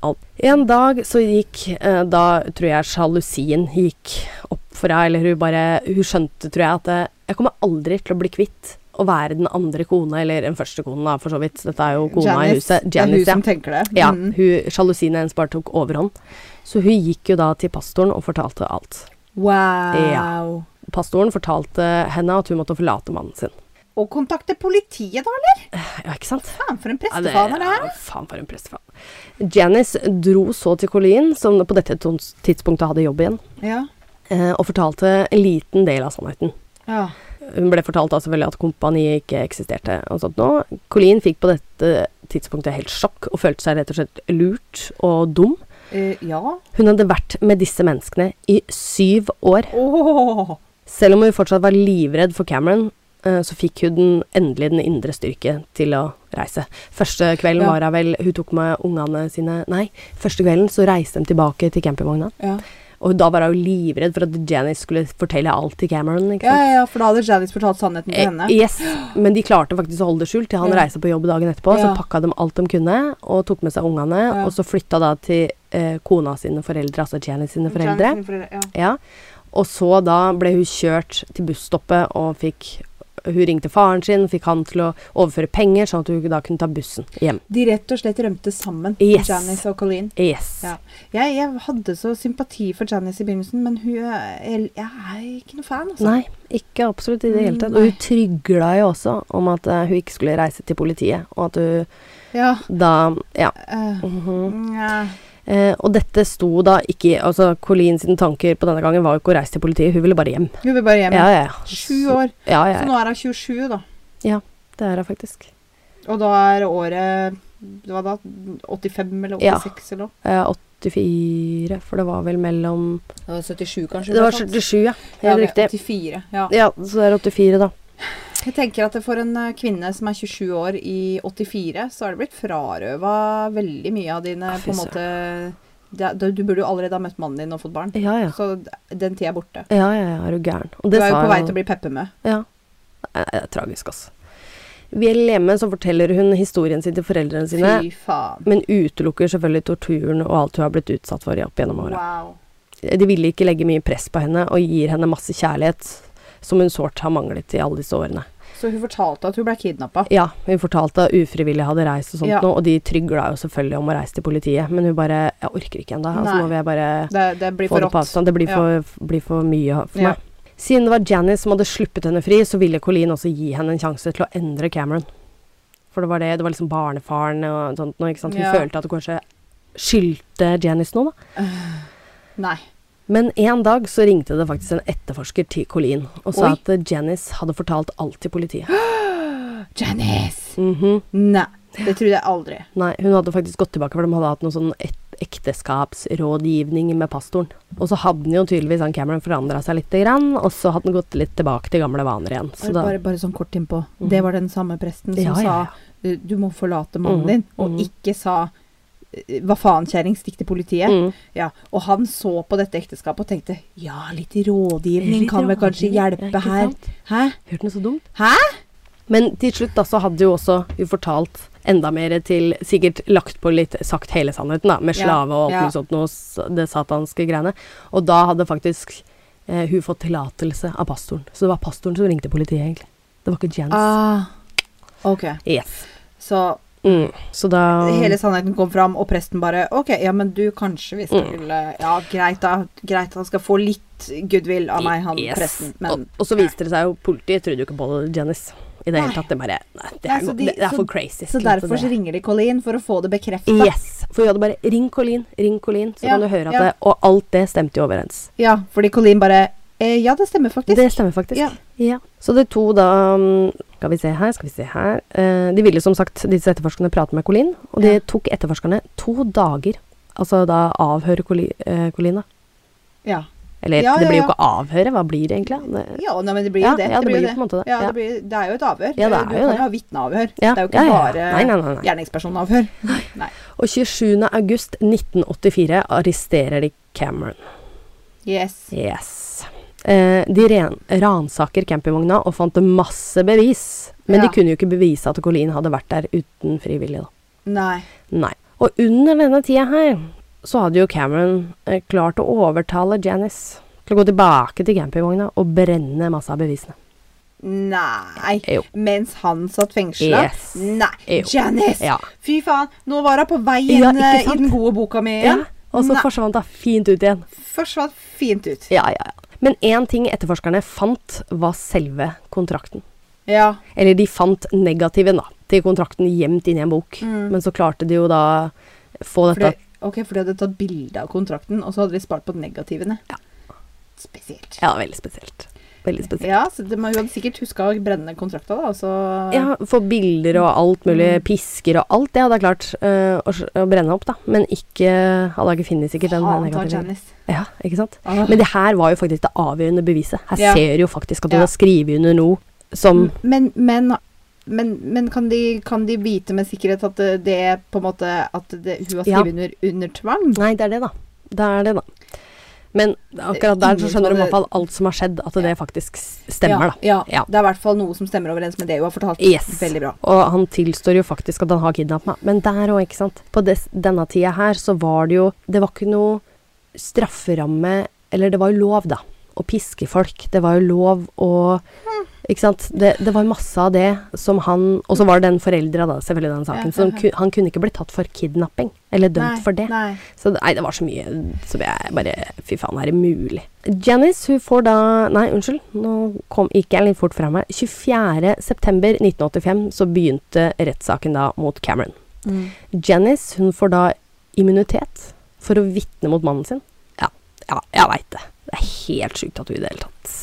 [SPEAKER 1] alt. En dag så gikk eh, Da tror jeg sjalusien gikk opp for henne, eller hun bare Hun skjønte, tror jeg, at eh, jeg kommer aldri til å bli kvitt å være den andre kona, eller den første konen, da, for så vidt. Dette er jo kona i huset.
[SPEAKER 2] det er hun
[SPEAKER 1] Janice, ja.
[SPEAKER 2] som tenker det.
[SPEAKER 1] Ja,
[SPEAKER 2] Mm.
[SPEAKER 1] hun, Sjalusien hennes bare tok overhånd. Så hun gikk jo da til pastoren og fortalte alt.
[SPEAKER 2] Wow.
[SPEAKER 1] Pastoren fortalte henne at hun måtte forlate mannen sin.
[SPEAKER 2] Og kontakte politiet, da, eller?
[SPEAKER 1] Ja, ikke sant?
[SPEAKER 2] Faen, for en
[SPEAKER 1] Ja,
[SPEAKER 2] prestefaen det er.
[SPEAKER 1] ja, faen for en prestefan. Janice dro så til Colleen, som på dette tons- tidspunktet hadde jobb igjen,
[SPEAKER 2] Ja.
[SPEAKER 1] eh, og fortalte en liten del av sannheten.
[SPEAKER 2] ja.
[SPEAKER 1] Hun ble fortalt da selvfølgelig at kompaniet ikke eksisterte og sånt nå. Colleen fikk på dette tidspunktet helt sjokk og følte seg rett og slett lurt og dum.
[SPEAKER 2] Eh, ja.
[SPEAKER 1] Hun hadde vært med disse menneskene i syv år.
[SPEAKER 2] Åh.
[SPEAKER 1] Selv om hun fortsatt var livredd for Cameron, eh, så fikk hun den, endelig den indre styrke til å reise. Første kvelden
[SPEAKER 2] Ja.
[SPEAKER 1] var hun vel Hun tok med ungene sine Nei, første kvelden så reiste de tilbake til campingvogna.
[SPEAKER 2] Ja.
[SPEAKER 1] Og da var hun jo livredd for at Janice skulle fortelle alt til Cameron. ikke
[SPEAKER 2] ja,
[SPEAKER 1] sant?
[SPEAKER 2] ja, ja, for da hadde Janice fortalt sannheten til henne.
[SPEAKER 1] Eh, Yes, men de klarte faktisk å holde det skjult til han
[SPEAKER 2] Ja.
[SPEAKER 1] reiste på jobb dagen etterpå. Så
[SPEAKER 2] Ja.
[SPEAKER 1] pakka de alt de kunne, og tok med seg ungene.
[SPEAKER 2] Ja.
[SPEAKER 1] Og så flytta da til eh, kona sine foreldre, altså Janice sine foreldre.
[SPEAKER 2] Janice sine foreldre, ja.
[SPEAKER 1] Ja. Og så da ble hun kjørt til busstoppet og fikk Hun ringte faren sin, fikk han til å overføre penger, sånn at hun da kunne ta bussen hjem.
[SPEAKER 2] De rett og slett rømte sammen,
[SPEAKER 1] Yes.
[SPEAKER 2] Janice og Colleen.
[SPEAKER 1] Yes.
[SPEAKER 2] Ja. Jeg, jeg hadde så sympati for Janice i begynnelsen, men hun eh, Jeg, jeg er ikke noe fan, altså.
[SPEAKER 1] Nei, ikke absolutt i det hele tatt. Og hun trygla jo også om at eh, hun ikke skulle reise til politiet, og at hun
[SPEAKER 2] Ja.
[SPEAKER 1] da Ja.
[SPEAKER 2] eh,
[SPEAKER 1] mhm.
[SPEAKER 2] nja.
[SPEAKER 1] eh, og dette sto da ikke Altså, Colleen sine tanker på denne gangen var jo ikke å reise til politiet, hun ville bare hjem.
[SPEAKER 2] Hun vil bare hjem.
[SPEAKER 1] Ja, ja, ja.
[SPEAKER 2] Sju år.
[SPEAKER 1] Ja, ja,
[SPEAKER 2] Så
[SPEAKER 1] ja.
[SPEAKER 2] nå er hun 27, da.
[SPEAKER 1] Det er hun faktisk.
[SPEAKER 2] Og da er året Hva da? 85 eller 86
[SPEAKER 1] Ja.
[SPEAKER 2] eller noe?
[SPEAKER 1] Eh, 84, for det var vel mellom
[SPEAKER 2] Det var 77, kanskje?
[SPEAKER 1] Det var
[SPEAKER 2] sant?
[SPEAKER 1] 77, ja.
[SPEAKER 2] Ja,
[SPEAKER 1] Helt
[SPEAKER 2] det-
[SPEAKER 1] riktig.
[SPEAKER 2] 84, ja.
[SPEAKER 1] Ja, så det er 84, da.
[SPEAKER 2] Jeg tenker at det for en eh, kvinne som er 27 år i 84, så har det blitt frarøva veldig mye av dine
[SPEAKER 1] Ah, fy
[SPEAKER 2] på en måte ja, Du du burde jo allerede ha møtt mannen din og fått barn.
[SPEAKER 1] Ja, ja.
[SPEAKER 2] Så d- den tida er borte.
[SPEAKER 1] Ja, ja, ja, er du gæren. Og
[SPEAKER 2] Du er jo
[SPEAKER 1] sa
[SPEAKER 2] på vei
[SPEAKER 1] jo-
[SPEAKER 2] til å bli peppermø.
[SPEAKER 1] Ja. Det er- det er tragisk, altså. Vel hjemme så forteller hun historien sin til foreldrene sine,
[SPEAKER 2] Fy faen.
[SPEAKER 1] men utelukker selvfølgelig torturen og alt hun har blitt utsatt for opp gjennom åra.
[SPEAKER 2] Wow.
[SPEAKER 1] De ville ikke legge mye press på henne, og gir henne masse kjærlighet, som hun sårt har manglet i alle disse årene.
[SPEAKER 2] Så hun fortalte at hun ble kidnappa.
[SPEAKER 1] Ja, hun fortalte at ufrivillig hadde reist og sånt
[SPEAKER 2] Ja.
[SPEAKER 1] nå, og de trygla jo selvfølgelig om å reise til politiet, men hun bare Jeg orker ikke ennå. Altså,
[SPEAKER 2] Nei.
[SPEAKER 1] nå vil jeg bare
[SPEAKER 2] Det, det blir
[SPEAKER 1] få
[SPEAKER 2] for
[SPEAKER 1] det på
[SPEAKER 2] rått.
[SPEAKER 1] avstand. Det blir
[SPEAKER 2] Ja.
[SPEAKER 1] for, blir for mye for
[SPEAKER 2] Ja.
[SPEAKER 1] meg. Siden det var Janice som hadde sluppet henne fri, så ville Colleen også gi henne en sjanse til å endre Cameron. For det var det, det var liksom barnefaren og sånt noe, ikke sant. Hun
[SPEAKER 2] Ja.
[SPEAKER 1] følte at hun kanskje skyldte Janice noe, da.
[SPEAKER 2] Nei.
[SPEAKER 1] Men en dag så ringte det faktisk en etterforsker til Colleen og sa
[SPEAKER 2] Oi.
[SPEAKER 1] at eh, Janice hadde fortalt alt til politiet.
[SPEAKER 2] Janice!
[SPEAKER 1] Mhm.
[SPEAKER 2] Nei, det trodde jeg aldri.
[SPEAKER 1] Nei, hun hadde faktisk gått tilbake, for de hadde hatt noe sånn et ekteskapsrådgivning med pastoren. Og så hadde den jo tydeligvis han Cameron forandra seg lite grann, og så hadde den gått litt tilbake til gamle vaner igjen. Så da, Mhm.
[SPEAKER 2] bare, bare sånn kort innpå. Det var den samme presten som
[SPEAKER 1] Ja, ja, ja.
[SPEAKER 2] sa eh, du må forlate mannen
[SPEAKER 1] Mhm,
[SPEAKER 2] din, og
[SPEAKER 1] mhm.
[SPEAKER 2] ikke sa eh, hva faen, kjerring, stikk til politiet.
[SPEAKER 1] Mhm.
[SPEAKER 2] Ja, og han så på dette ekteskapet og tenkte ja, litt rådgivning
[SPEAKER 1] Litt
[SPEAKER 2] kan vel kanskje
[SPEAKER 1] rådgivning, ja,
[SPEAKER 2] hjelpe
[SPEAKER 1] ikke
[SPEAKER 2] her.
[SPEAKER 1] sant?
[SPEAKER 2] Hæ?
[SPEAKER 1] hørte noe så dumt.
[SPEAKER 2] Hæ?
[SPEAKER 1] Men til slutt da, så hadde jo også hun fortalt enda mer til Sikkert lagt på litt sagt hele sannheten, da, med
[SPEAKER 2] Ja,
[SPEAKER 1] slave og alt
[SPEAKER 2] ja.
[SPEAKER 1] mulig sånt noe, s- det satanske greiene. Og da hadde faktisk eh, hun fått tillatelse av pastoren. Så det var pastoren som ringte politiet, egentlig. Det var ikke Jens.
[SPEAKER 2] Ah, ok,
[SPEAKER 1] yes.
[SPEAKER 2] så
[SPEAKER 1] Mm. Så da
[SPEAKER 2] hele sannheten kom fram, og presten bare Ok, ja, men du, kanskje
[SPEAKER 1] Mm.
[SPEAKER 2] vi skulle Ja, greit, da. Greit, han skal få litt goodwill av meg, han
[SPEAKER 1] Yes.
[SPEAKER 2] presten, men
[SPEAKER 1] og, og så viste det seg jo Politiet trodde jo ikke på Janice i det
[SPEAKER 2] Nei.
[SPEAKER 1] hele tatt. Det, bare, nei, det,
[SPEAKER 2] Nei,
[SPEAKER 1] er,
[SPEAKER 2] så
[SPEAKER 1] go-
[SPEAKER 2] de-
[SPEAKER 1] det, det er
[SPEAKER 2] så-
[SPEAKER 1] for crazy.
[SPEAKER 2] Så
[SPEAKER 1] til at
[SPEAKER 2] derfor så
[SPEAKER 1] det-
[SPEAKER 2] ringer de Colleen for å få det bekrefta.
[SPEAKER 1] Yes. For hun hadde bare 'ring Colleen', 'ring Colleen', så
[SPEAKER 2] Ja,
[SPEAKER 1] kan du høre at
[SPEAKER 2] ja.
[SPEAKER 1] det Og alt det stemte jo overens.
[SPEAKER 2] Ja, fordi Colleen bare eh, Ja, det stemmer faktisk.
[SPEAKER 1] Det stemmer faktisk.
[SPEAKER 2] Ja.
[SPEAKER 1] Så de to da mm, Skal vi se her, skal vi se her. Eh, de ville som sagt, disse etterforskerne, prate med Colin, og det
[SPEAKER 2] Ja.
[SPEAKER 1] tok etterforskerne to dager. Altså da avhøre Colin, eh, Colin da.
[SPEAKER 2] Ja.
[SPEAKER 1] Eller
[SPEAKER 2] Ja,
[SPEAKER 1] det blir
[SPEAKER 2] ja,
[SPEAKER 1] jo
[SPEAKER 2] ja.
[SPEAKER 1] ikke avhøre, hva blir det egentlig? da? Det,
[SPEAKER 2] ja, nei, men det blir jo
[SPEAKER 1] Ja,
[SPEAKER 2] det.
[SPEAKER 1] ja, det
[SPEAKER 2] blir
[SPEAKER 1] blir jo på en måte det.
[SPEAKER 2] Ja,
[SPEAKER 1] Ja.
[SPEAKER 2] det, blir, det er jo et avhør.
[SPEAKER 1] Ja, det er
[SPEAKER 2] du
[SPEAKER 1] jo
[SPEAKER 2] kan
[SPEAKER 1] det.
[SPEAKER 2] jo ha vitneavhør.
[SPEAKER 1] Ja,
[SPEAKER 2] Det er jo
[SPEAKER 1] ja,
[SPEAKER 2] ikke
[SPEAKER 1] ja.
[SPEAKER 2] bare
[SPEAKER 1] Nei, nei, nei, nei.
[SPEAKER 2] gjerningspersonavhør. Nei.
[SPEAKER 1] og 27. august 1984 arresterer de Cameron.
[SPEAKER 2] Yes.
[SPEAKER 1] Yes. Eh, de ren- ransaker campingvogna og fant masse bevis, men
[SPEAKER 2] Ja.
[SPEAKER 1] de kunne jo ikke bevise at Colin hadde vært der uten frivillig, da.
[SPEAKER 2] Nei.
[SPEAKER 1] Nei. Og under denne tida her, så hadde jo Cameron eh, klart å overtale Janice til å gå tilbake til campingvogna og brenne masse av bevisene.
[SPEAKER 2] Nei.
[SPEAKER 1] Jo.
[SPEAKER 2] Mens han satt fengsla?
[SPEAKER 1] Yes.
[SPEAKER 2] Nei.
[SPEAKER 1] Jo.
[SPEAKER 2] Janice!
[SPEAKER 1] Ja.
[SPEAKER 2] Fy faen, nå var hun på vei
[SPEAKER 1] Ja,
[SPEAKER 2] inn
[SPEAKER 1] ikke
[SPEAKER 2] eh, i
[SPEAKER 1] sant?
[SPEAKER 2] den gode boka mi
[SPEAKER 1] Ja,
[SPEAKER 2] igjen.
[SPEAKER 1] og så
[SPEAKER 2] Nei,
[SPEAKER 1] forsvant hun fint ut igjen.
[SPEAKER 2] Forsvant fint ut.
[SPEAKER 1] Ja, ja, ja. Men én ting etterforskerne fant, var selve kontrakten.
[SPEAKER 2] Ja.
[SPEAKER 1] Eller de fant negativen, da, til kontrakten gjemt inni en bok.
[SPEAKER 2] Mm.
[SPEAKER 1] Men så klarte de jo da få
[SPEAKER 2] For det,
[SPEAKER 1] dette
[SPEAKER 2] ok, for de hadde tatt bilde av kontrakten, og så hadde de spart på negativene.
[SPEAKER 1] Ja.
[SPEAKER 2] Spesielt.
[SPEAKER 1] Ja, veldig spesielt. Veldig spesielt.
[SPEAKER 2] Ja, så det, men Hun hadde sikkert huska å brenne den kontrakta, da. og Så,
[SPEAKER 1] Ja, få bilder og alt mulig.
[SPEAKER 2] Mm.
[SPEAKER 1] Pisker og alt det hadde jeg klart eh, å, s- å brenne opp, da. Men ikke Hadde jeg ikke funnet sikkert den
[SPEAKER 2] Faen ta
[SPEAKER 1] negative.
[SPEAKER 2] Janice. Ah.
[SPEAKER 1] Ja, ikke sant?
[SPEAKER 2] Åh.
[SPEAKER 1] Men det her var jo faktisk det avgjørende beviset. Her
[SPEAKER 2] Ja.
[SPEAKER 1] ser du jo faktisk at hun
[SPEAKER 2] Ja.
[SPEAKER 1] har skrevet under noe som
[SPEAKER 2] Men, men, men, men kan, de, kan de vite med sikkerhet at det- det på en måte At det, hun har
[SPEAKER 1] Ja.
[SPEAKER 2] skrevet under under tvang?
[SPEAKER 1] Nei, det er det, da. Det er det, da. Men akkurat der så
[SPEAKER 2] Ingen
[SPEAKER 1] skjønner du i
[SPEAKER 2] hadde-
[SPEAKER 1] hvert fall alt som har skjedd, at det faktisk s- stemmer, da.
[SPEAKER 2] Ja,
[SPEAKER 1] Ja.
[SPEAKER 2] ja. Det er i hvert fall noe som stemmer overens med det hun har fortalt.
[SPEAKER 1] Yes.
[SPEAKER 2] Veldig bra.
[SPEAKER 1] Og han tilstår jo faktisk at han har kidnappet meg. Men der òg, ikke sant. På des, denne tida her så var det jo Det var ikke noe strafferamme Eller det var jo lov, da. Å piske folk. Det var jo lov å Ikke sant. Det, det var masse av det som han Og så var det den foreldra, da, selvfølgelig, i den
[SPEAKER 2] Ja,
[SPEAKER 1] saken. Som
[SPEAKER 2] ja, ja.
[SPEAKER 1] ku, han kunne ikke blitt tatt for kidnapping. Eller dømt
[SPEAKER 2] Nei,
[SPEAKER 1] for det.
[SPEAKER 2] Nei.
[SPEAKER 1] Så det- nei, det var så mye som jeg bare Fy faen, er det mulig? Janice, hun får da Nei, unnskyld, nå kom, gikk jeg litt fort fra meg. 24.9.1985 så begynte rettssaken da mot Cameron. Mm. Janice, hun får da immunitet for å vitne mot mannen sin. Ja, ja jeg veit det. Det er helt sjukt at hun i det hele tatt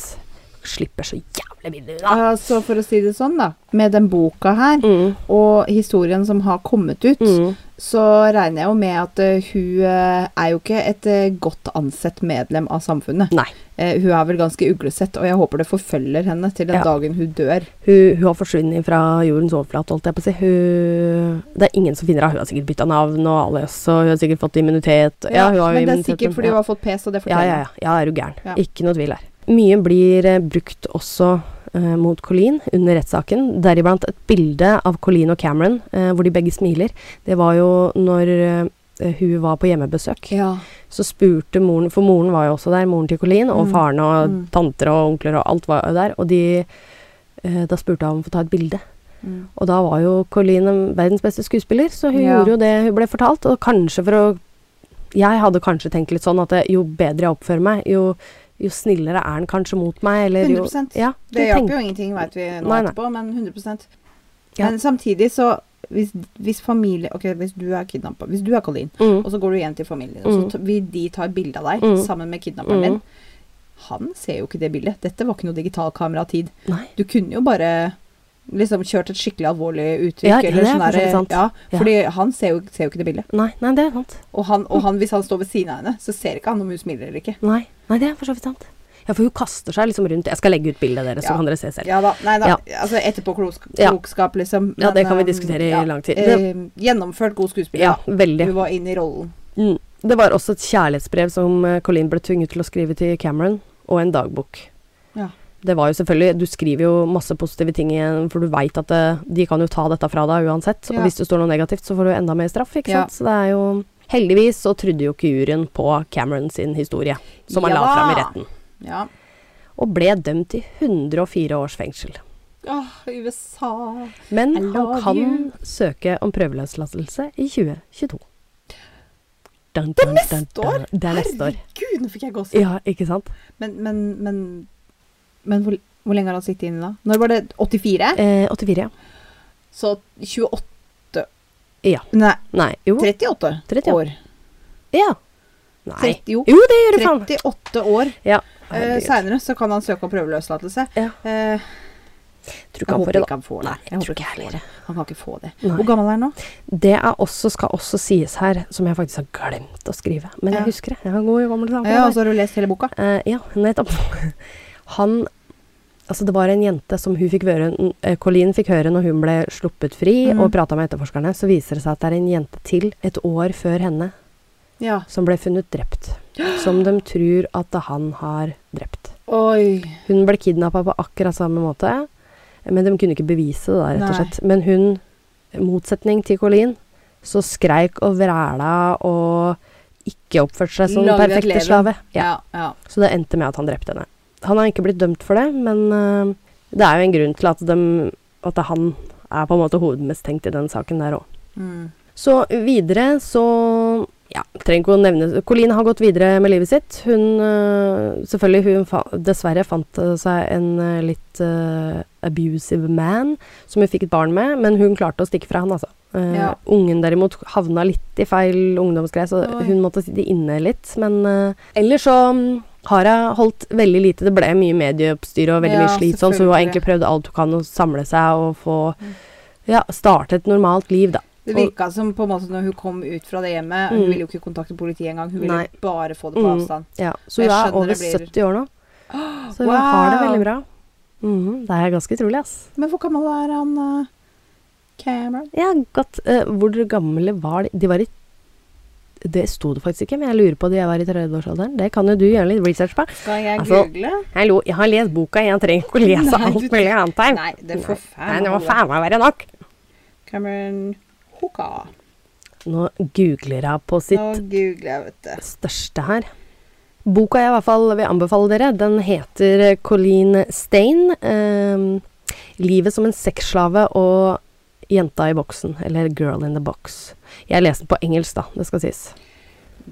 [SPEAKER 1] slipper så jævlig billig unna.
[SPEAKER 2] Altså, for å si det sånn, da. Med den boka her,
[SPEAKER 1] Mm,
[SPEAKER 2] og historien som har kommet ut,
[SPEAKER 1] mm.
[SPEAKER 2] så regner jeg jo med at eh, hun eh, er jo ikke et eh, godt ansett medlem av samfunnet.
[SPEAKER 1] Nei.
[SPEAKER 2] Eh, hun er vel ganske uglesett, og jeg håper det forfølger henne til den
[SPEAKER 1] Ja.
[SPEAKER 2] dagen hun dør.
[SPEAKER 1] Hun, hun har forsvunnet fra jordens overflate, holdt jeg på å si. Hun, det er ingen som finner henne. Hun har sikkert bytta navn og alias, og hun har sikkert fått immunitet. Ja, hun har jo
[SPEAKER 2] men det er
[SPEAKER 1] immunitet,
[SPEAKER 2] sikkert fordi
[SPEAKER 1] ja.
[SPEAKER 2] hun har fått pes, og det
[SPEAKER 1] ja,
[SPEAKER 2] forteller
[SPEAKER 1] ja, ja, ja, er du gæren.
[SPEAKER 2] Ja.
[SPEAKER 1] Ikke noe tvil her. Mye blir eh, brukt også eh, mot Colleen under rettssaken, deriblant et bilde av Colleen og Cameron eh, hvor de begge smiler. Det var jo når eh, hun var på hjemmebesøk
[SPEAKER 2] Ja.
[SPEAKER 1] så spurte moren, for moren var jo også der, moren til Colleen, og
[SPEAKER 2] Mm.
[SPEAKER 1] faren og
[SPEAKER 2] Mm.
[SPEAKER 1] tanter og onkler og alt var jo der, og de, eh, da spurte han om å få ta et bilde.
[SPEAKER 2] Mm.
[SPEAKER 1] Og da var jo Colleen en verdens beste skuespiller, så hun
[SPEAKER 2] Ja.
[SPEAKER 1] gjorde jo det hun ble fortalt, og kanskje for å Jeg hadde kanskje tenkt litt sånn at eh, jo bedre jeg oppfører meg, jo, jo snillere er han kanskje mot meg, eller jo
[SPEAKER 2] 100%.
[SPEAKER 1] Ja, du
[SPEAKER 2] Det
[SPEAKER 1] tenk-
[SPEAKER 2] hjelper jo ingenting, veit vi nå
[SPEAKER 1] Nei, nei.
[SPEAKER 2] etterpå, men 100
[SPEAKER 1] Ja.
[SPEAKER 2] Men samtidig så hvis, hvis familie Ok, hvis du er kidnappa, hvis du er Colleen,
[SPEAKER 1] Mm.
[SPEAKER 2] og så går du hjem til familien din,
[SPEAKER 1] Mm.
[SPEAKER 2] så t- vil de ta et bilde av deg
[SPEAKER 1] Mm.
[SPEAKER 2] sammen med kidnapperen
[SPEAKER 1] Mm.
[SPEAKER 2] din. Han ser jo ikke det bildet. Dette var ikke noe digitalkameratid.
[SPEAKER 1] Nei.
[SPEAKER 2] Du kunne jo bare liksom kjørt et skikkelig alvorlig uttrykk.
[SPEAKER 1] Ja, ja,
[SPEAKER 2] eller
[SPEAKER 1] det er
[SPEAKER 2] sånn
[SPEAKER 1] for så vidt
[SPEAKER 2] der-
[SPEAKER 1] sant.
[SPEAKER 2] Ja,
[SPEAKER 1] Ja.
[SPEAKER 2] fordi han ser jo, ser jo ikke det bildet.
[SPEAKER 1] Nei, nei, det er sant.
[SPEAKER 2] Og, han, og han, hvis han står ved siden av henne, så ser ikke han om hun smiler eller ikke.
[SPEAKER 1] Nei, nei det er for så vidt sant. Ja, for hun kaster seg liksom rundt. Jeg skal legge ut bildet deres, så
[SPEAKER 2] Ja.
[SPEAKER 1] kan dere se selv.
[SPEAKER 2] Ja da, nei da,
[SPEAKER 1] Ja.
[SPEAKER 2] altså etterpåklokskap,
[SPEAKER 1] Ja.
[SPEAKER 2] klokskap, liksom.
[SPEAKER 1] Ja, det kan vi
[SPEAKER 2] eh,
[SPEAKER 1] diskutere i lang tid.
[SPEAKER 2] eh, gjennomført god skuespiller.
[SPEAKER 1] Ja,
[SPEAKER 2] Ja,
[SPEAKER 1] veldig.
[SPEAKER 2] Hun var inne i rollen.
[SPEAKER 1] Mm. Det var også et kjærlighetsbrev som eh, Colleen ble tvunget til å skrive til Cameron, og en dagbok.
[SPEAKER 2] Ja.
[SPEAKER 1] Det var jo selvfølgelig Du skriver jo masse positive ting igjen, for du veit at eh, de kan jo ta dette fra deg uansett.
[SPEAKER 2] Ja.
[SPEAKER 1] Og hvis det står noe negativt, så får du enda mer straff, ikke
[SPEAKER 2] Ja.
[SPEAKER 1] sant. Så det er jo Heldigvis så trodde jo ikke juryen på Cameron sin historie, som han
[SPEAKER 2] Ja
[SPEAKER 1] la fram i
[SPEAKER 2] da.
[SPEAKER 1] retten.
[SPEAKER 2] Ja.
[SPEAKER 1] Og ble dømt til 104 års fengsel.
[SPEAKER 2] Åh, USA.
[SPEAKER 1] Men
[SPEAKER 2] I
[SPEAKER 1] han
[SPEAKER 2] love
[SPEAKER 1] kan
[SPEAKER 2] you.
[SPEAKER 1] søke om prøveløslatelse i 2022. Dun, dun,
[SPEAKER 2] er neste
[SPEAKER 1] dun, dun.
[SPEAKER 2] år?
[SPEAKER 1] Det er neste år.
[SPEAKER 2] Herregud, nå fikk jeg gåsehud.
[SPEAKER 1] Ja, ikke sant?
[SPEAKER 2] Men, men, men, men hvor, hvor lenge har han sittet inne da? Når var det 84?
[SPEAKER 1] Eh, 84, ja.
[SPEAKER 2] Så 28
[SPEAKER 1] Ja.
[SPEAKER 2] Nei,
[SPEAKER 1] Nei, jo.
[SPEAKER 2] 38,
[SPEAKER 1] 38.
[SPEAKER 2] år.
[SPEAKER 1] Ja. Nei.
[SPEAKER 2] Trett- jo.
[SPEAKER 1] Jo, det gjør det faen.
[SPEAKER 2] 38 år
[SPEAKER 1] Ja.
[SPEAKER 2] eh,
[SPEAKER 1] Herregud.
[SPEAKER 2] seinere så kan han søke om prøveløslatelse.
[SPEAKER 1] Ja.
[SPEAKER 2] Eh,
[SPEAKER 1] Tror
[SPEAKER 2] jeg
[SPEAKER 1] ikke han
[SPEAKER 2] håper
[SPEAKER 1] får det,
[SPEAKER 2] ikke
[SPEAKER 1] da.
[SPEAKER 2] han får det.
[SPEAKER 1] Nei, jeg tror ikke jeg
[SPEAKER 2] han får
[SPEAKER 1] heller.
[SPEAKER 2] det. Han kan ikke få det.
[SPEAKER 1] Nei.
[SPEAKER 2] Hvor gammel er han nå?
[SPEAKER 1] Det er også, skal også sies her, som jeg faktisk har glemt å skrive. Men
[SPEAKER 2] Ja.
[SPEAKER 1] jeg husker det. Jeg har god gammel tanke.
[SPEAKER 2] Ja, altså. og så har du lest hele boka?
[SPEAKER 1] Eh, ja, nettopp. Han Altså, det var en jente som hun fikk høre eh, Colleen fikk høre når hun ble sluppet fri
[SPEAKER 2] Mhm.
[SPEAKER 1] og prata med etterforskerne, så viser det seg at det er en jente til et år før henne
[SPEAKER 2] Ja.
[SPEAKER 1] som ble funnet drept. Som de tror at han har drept.
[SPEAKER 2] Oi.
[SPEAKER 1] Hun ble kidnappa på akkurat samme måte, men de kunne ikke bevise det, da, rett og
[SPEAKER 2] Nei.
[SPEAKER 1] slett. Men hun, i motsetning til Colleen, så skreik og vræla og ikke oppførte seg som den
[SPEAKER 2] Laget
[SPEAKER 1] perfekte
[SPEAKER 2] leven.
[SPEAKER 1] slave. Ja.
[SPEAKER 2] Ja, ja.
[SPEAKER 1] Så det endte med at han drepte henne. Han har ikke blitt dømt for det, men øh, det er jo en grunn til at, dem- at han er på en måte hovedmistenkt i den saken der òg.
[SPEAKER 2] Mm.
[SPEAKER 1] Så videre så ja, trenger ikke å nevne Colleen har gått videre med livet sitt. Hun øh, selvfølgelig hun fa dessverre fant det seg en øh, litt øh, abusive man som hun fikk et barn med, men hun klarte å stikke fra han, altså. Eh,
[SPEAKER 2] Ja.
[SPEAKER 1] Ungen derimot havna litt i feil ungdomsgreie, så
[SPEAKER 2] Oi.
[SPEAKER 1] hun måtte sitte inne litt. Men eh, ellers så mm, har jeg holdt veldig lite. Det ble mye medieoppstyr og veldig
[SPEAKER 2] Ja,
[SPEAKER 1] mye slitsomt, så hun har egentlig prøvd alt hun kan å samle seg og få
[SPEAKER 2] Mm.
[SPEAKER 1] ja, starte et normalt liv, da.
[SPEAKER 2] Det
[SPEAKER 1] Og-
[SPEAKER 2] virka som på en måte når hun kom ut fra det hjemmet
[SPEAKER 1] Mm.
[SPEAKER 2] Hun ville jo ikke kontakte politiet engang. Hun ville
[SPEAKER 1] Nei.
[SPEAKER 2] bare få det på
[SPEAKER 1] Mm.
[SPEAKER 2] avstand.
[SPEAKER 1] Ja, så
[SPEAKER 2] Jeg
[SPEAKER 1] hun er
[SPEAKER 2] skjønner
[SPEAKER 1] over
[SPEAKER 2] det blir-
[SPEAKER 1] 70 år nå. Så hun har det veldig bra. Mhm, det er ganske utrolig, ass.
[SPEAKER 2] Men hvor gammel er han eh, Cameron?
[SPEAKER 1] Ja, godt. Eh, hvor gamle var de? De var i Det sto det faktisk ikke, men jeg lurer på om de var i tredjeårsalderen. Det kan jo du gjøre litt research på.
[SPEAKER 2] Skal jeg
[SPEAKER 1] Altså,
[SPEAKER 2] google?
[SPEAKER 1] Hallo, jeg har lest boka, jeg trenger ikke å lese
[SPEAKER 2] Nei,
[SPEAKER 1] alt
[SPEAKER 2] du-
[SPEAKER 1] mulig annet her.
[SPEAKER 2] Nei, det får
[SPEAKER 1] Nei,
[SPEAKER 2] faen
[SPEAKER 1] det må
[SPEAKER 2] holde.
[SPEAKER 1] faen meg være nok.
[SPEAKER 2] Cameron Hoka.
[SPEAKER 1] Nå googler jeg på
[SPEAKER 2] Nå
[SPEAKER 1] sitt
[SPEAKER 2] googler jeg, vet du.
[SPEAKER 1] største her. Boka jeg i hvert fall vil anbefale dere, den heter eh, Colleen Stein. ehm, 'Livet som en sexslave og jenta i boksen', eller 'Girl in the Box'. Jeg leser den på engelsk, da, det skal sies.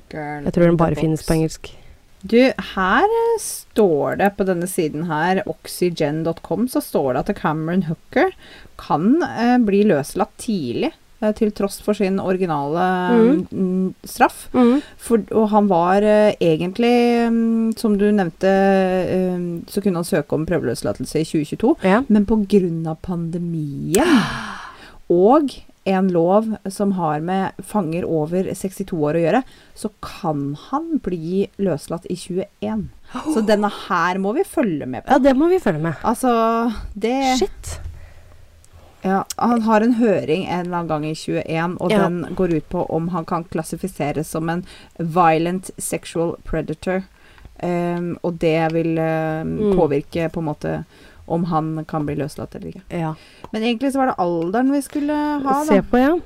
[SPEAKER 2] Girl
[SPEAKER 1] Jeg tror den
[SPEAKER 2] in the
[SPEAKER 1] bare
[SPEAKER 2] box.
[SPEAKER 1] finnes på engelsk.
[SPEAKER 2] Du, her eh, står det på denne siden her, oxygen.com, så står det at Cameron Hooker kan eh, bli løslatt tidlig. eh, Til tross for sin originale
[SPEAKER 1] Mm.
[SPEAKER 2] mm, straff. For, og han var eh, egentlig, mm, som du nevnte, eh, så kunne han søke om prøveløslatelse i 2022.
[SPEAKER 1] Ja.
[SPEAKER 2] Men pga. pandemien og en lov som har med fanger over 62 år å gjøre, så kan han bli løslatt i 21. Så denne her må vi følge med på.
[SPEAKER 1] ja, det må vi følge med.
[SPEAKER 2] Altså, det
[SPEAKER 1] Shit.
[SPEAKER 2] ja, Han har en høring en eller annen gang i 21, og
[SPEAKER 1] Ja.
[SPEAKER 2] den går ut på om han kan klassifiseres som en violent sexual predator. Um, og det vil um,
[SPEAKER 1] Mm.
[SPEAKER 2] påvirke på en måte om han kan bli løslatt eller ikke.
[SPEAKER 1] Ja.
[SPEAKER 2] Men egentlig så var det alderen vi skulle ha, da.
[SPEAKER 1] Se på, ja.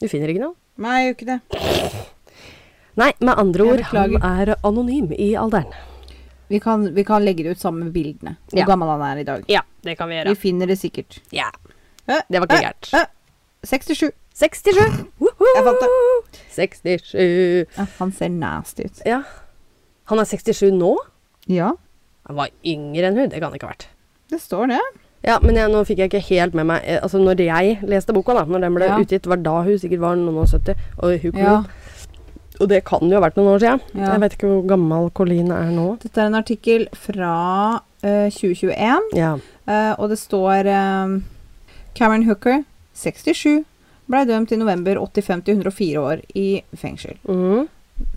[SPEAKER 1] Du finner ikke noe?
[SPEAKER 2] Nei, jo ikke det.
[SPEAKER 1] Nei, med andre
[SPEAKER 2] Jeg
[SPEAKER 1] ord, han
[SPEAKER 2] beklager.
[SPEAKER 1] er anonym i alderen.
[SPEAKER 2] Vi kan, vi kan legge det ut sammen med bildene. Hvor
[SPEAKER 1] Ja.
[SPEAKER 2] gammel han er i dag.
[SPEAKER 1] Ja, det kan vi
[SPEAKER 2] Vi finner det sikkert.
[SPEAKER 1] Ja,
[SPEAKER 2] Hæ?
[SPEAKER 1] det var ikke gærent.
[SPEAKER 2] Hæ? 67.
[SPEAKER 1] 67!
[SPEAKER 2] Jeg fant det.
[SPEAKER 1] 67.
[SPEAKER 2] Ja, han ser nasty ut.
[SPEAKER 1] Ja. Han er 67 nå?
[SPEAKER 2] Ja,
[SPEAKER 1] Han var yngre enn hun, det kan det ikke ha vært.
[SPEAKER 2] det står det.
[SPEAKER 1] Ja, men jeg, nå fikk jeg ikke helt med meg eh, Altså, når jeg leste boka, da, når den ble
[SPEAKER 2] Ja.
[SPEAKER 1] utgitt, var da hun sikkert var noen og 70, og hun kom
[SPEAKER 2] Ja.
[SPEAKER 1] Og det kan jo ha vært noen år siden.
[SPEAKER 2] Ja.
[SPEAKER 1] Jeg vet ikke hvor gammel Colleen er nå.
[SPEAKER 2] Dette er en artikkel fra eh, 2021.
[SPEAKER 1] Ja.
[SPEAKER 2] Eh, og det står eh, Karen Hooker, 67, ble dømt i november 85 til 104 år i fengsel.
[SPEAKER 1] Mm.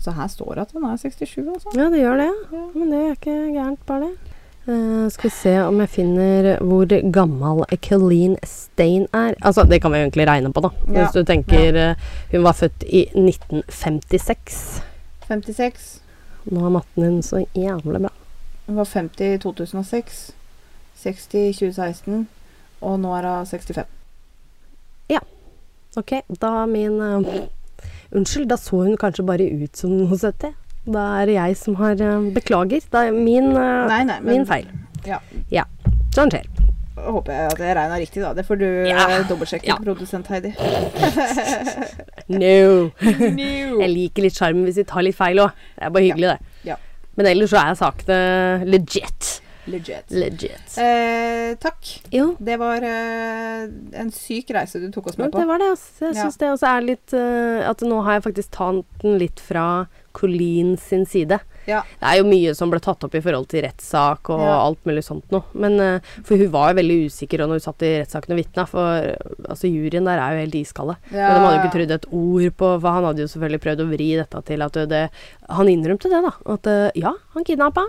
[SPEAKER 2] Så her står det at hun er 67, altså.
[SPEAKER 1] ja, det gjør det.
[SPEAKER 2] Ja.
[SPEAKER 1] Men det er ikke gærent, bare det. Eh, skal vi se om jeg finner hvor gammel Colleen Stain er. Altså, det kan vi jo egentlig regne på, da.
[SPEAKER 2] Ja.
[SPEAKER 1] Hvis du tenker eh, Hun var født i 1956.
[SPEAKER 2] 56.
[SPEAKER 1] Nå er matten din så jævlig bra.
[SPEAKER 2] Hun var 50 i 2006, 60 i 2016, og nå er hun 65.
[SPEAKER 1] Ok, da er min eh, Unnskyld, da så hun kanskje bare ut som noe 70. Da er det jeg som har eh, Beklager. Da er min, eh,
[SPEAKER 2] Nei, nei, men
[SPEAKER 1] min feil.
[SPEAKER 2] Ja.
[SPEAKER 1] Sånn skjer.
[SPEAKER 2] håper jeg at jeg regna riktig, da. Det får du
[SPEAKER 1] Ja.
[SPEAKER 2] eh, dobbeltsjekke,
[SPEAKER 1] Ja.
[SPEAKER 2] produsent Heidi.
[SPEAKER 1] No. Jeg
[SPEAKER 2] Eller-
[SPEAKER 1] liker litt sjarm hvis vi tar litt feil òg. Det er bare hyggelig, det.
[SPEAKER 2] Ja.
[SPEAKER 1] Men ellers så er sakene legit.
[SPEAKER 2] Legit.
[SPEAKER 1] Legit.
[SPEAKER 2] Eh, takk.
[SPEAKER 1] Jo,
[SPEAKER 2] Det var eh, en syk reise du tok oss
[SPEAKER 1] men
[SPEAKER 2] med på.
[SPEAKER 1] det var det. Altså. Jeg
[SPEAKER 2] Ja.
[SPEAKER 1] syns det også er litt eh, At nå har jeg faktisk tatt den litt fra Colleen sin side.
[SPEAKER 2] Ja.
[SPEAKER 1] Det er jo mye som ble tatt opp i forhold til rettssak og
[SPEAKER 2] Ja.
[SPEAKER 1] alt mulig sånt noe. Men eh, For hun var jo veldig usikker og når hun satt i rettssaken og vitna, for eh, altså, juryen der er jo helt iskalde.
[SPEAKER 2] Ja,
[SPEAKER 1] Men de hadde jo
[SPEAKER 2] ja.
[SPEAKER 1] ikke trodd et ord på For han hadde jo selvfølgelig prøvd å vri dette til at det Han innrømte det, da. At eh, ja, han kidnappa.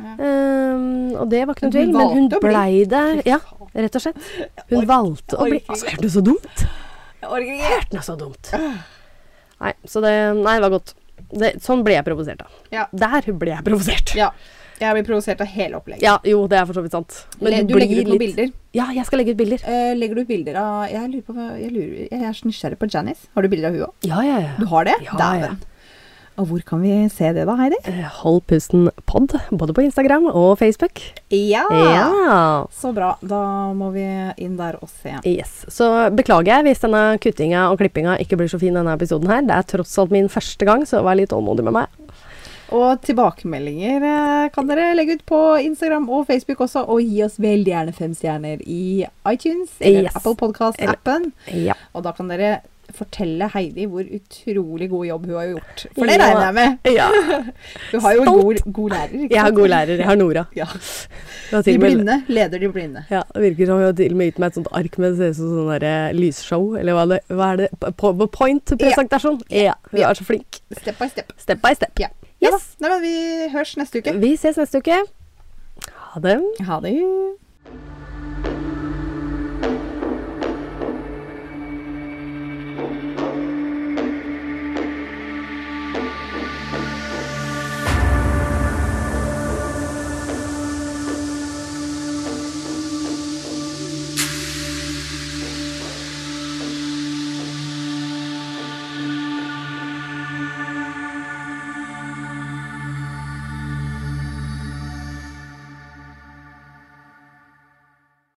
[SPEAKER 2] Ja.
[SPEAKER 1] Ehm, og det var ikke noe tvil,
[SPEAKER 2] Men hun
[SPEAKER 1] men hun
[SPEAKER 2] valgte å bli.
[SPEAKER 1] blei der. Ja, rett og slett. Hun
[SPEAKER 2] orker-
[SPEAKER 1] valgte å
[SPEAKER 2] orker
[SPEAKER 1] bli
[SPEAKER 2] ikke.
[SPEAKER 1] Altså, hørte du så dumt?
[SPEAKER 2] Jeg orker ikke.
[SPEAKER 1] Hørte du så dumt? Nei, så det Nei, det var godt. Det, sånn ble jeg provosert, da.
[SPEAKER 2] Ja.
[SPEAKER 1] Der ble jeg provosert.
[SPEAKER 2] Ja. Jeg blir provosert av hele opplegget.
[SPEAKER 1] Ja, jo, det er for så vidt sant.
[SPEAKER 2] Le- du
[SPEAKER 1] blir
[SPEAKER 2] legger ut noen
[SPEAKER 1] litt-
[SPEAKER 2] bilder.
[SPEAKER 1] Ja, jeg skal legge ut bilder.
[SPEAKER 2] Eh, legger du ut bilder av Jeg lurer på hva- jeg, lurer, jeg er så nysgjerrig på Janice. Har du bilder av hun òg?
[SPEAKER 1] Ja, ja, ja.
[SPEAKER 2] Du har det?
[SPEAKER 1] Ja,
[SPEAKER 2] Dæven. Og hvor kan vi se det da, Heidi?
[SPEAKER 1] Eh, Hold pusten pod, både på Instagram og Facebook.
[SPEAKER 2] Ja!
[SPEAKER 1] Ja.
[SPEAKER 2] Så bra. Da må vi inn der og se.
[SPEAKER 1] Yes. Så beklager jeg hvis denne kuttinga og klippinga ikke blir så fin denne episoden her. Det er tross alt min første gang, så vær litt tålmodig med meg.
[SPEAKER 2] Og tilbakemeldinger eh, kan dere legge ut på Instagram og Facebook også. Og gi oss veldig gjerne fem stjerner i iTunes eller
[SPEAKER 1] Yes.
[SPEAKER 2] Apple Podcast-appen.
[SPEAKER 1] Ja.
[SPEAKER 2] Og da kan dere fortelle Heidi hvor utrolig god jobb hun har gjort. For
[SPEAKER 1] Ja.
[SPEAKER 2] det regner jeg med.
[SPEAKER 1] ja.
[SPEAKER 2] Du har jo en
[SPEAKER 1] Stolt.
[SPEAKER 2] god, god lærer. Ikke
[SPEAKER 1] Jeg har
[SPEAKER 2] sant?
[SPEAKER 1] god lærer. Jeg har Nora.
[SPEAKER 2] Ja.
[SPEAKER 1] Hun har til
[SPEAKER 2] De
[SPEAKER 1] og med-
[SPEAKER 2] blinde leder de blinde.
[SPEAKER 1] Ja, det virker som hun har til og med gitt meg et sånt ark med det ser ut som sånn der, eh, lysshow, eller hva er det, hva er det P- PowerPoint-presentasjon. Ja. Hun
[SPEAKER 2] Ja.
[SPEAKER 1] er så flink.
[SPEAKER 2] Step by step.
[SPEAKER 1] Step by step.
[SPEAKER 2] Ja. Ja da.
[SPEAKER 1] Yes.
[SPEAKER 2] Nei, men vi hørs neste uke.
[SPEAKER 1] Vi ses neste uke. Ha det.
[SPEAKER 2] Ha det.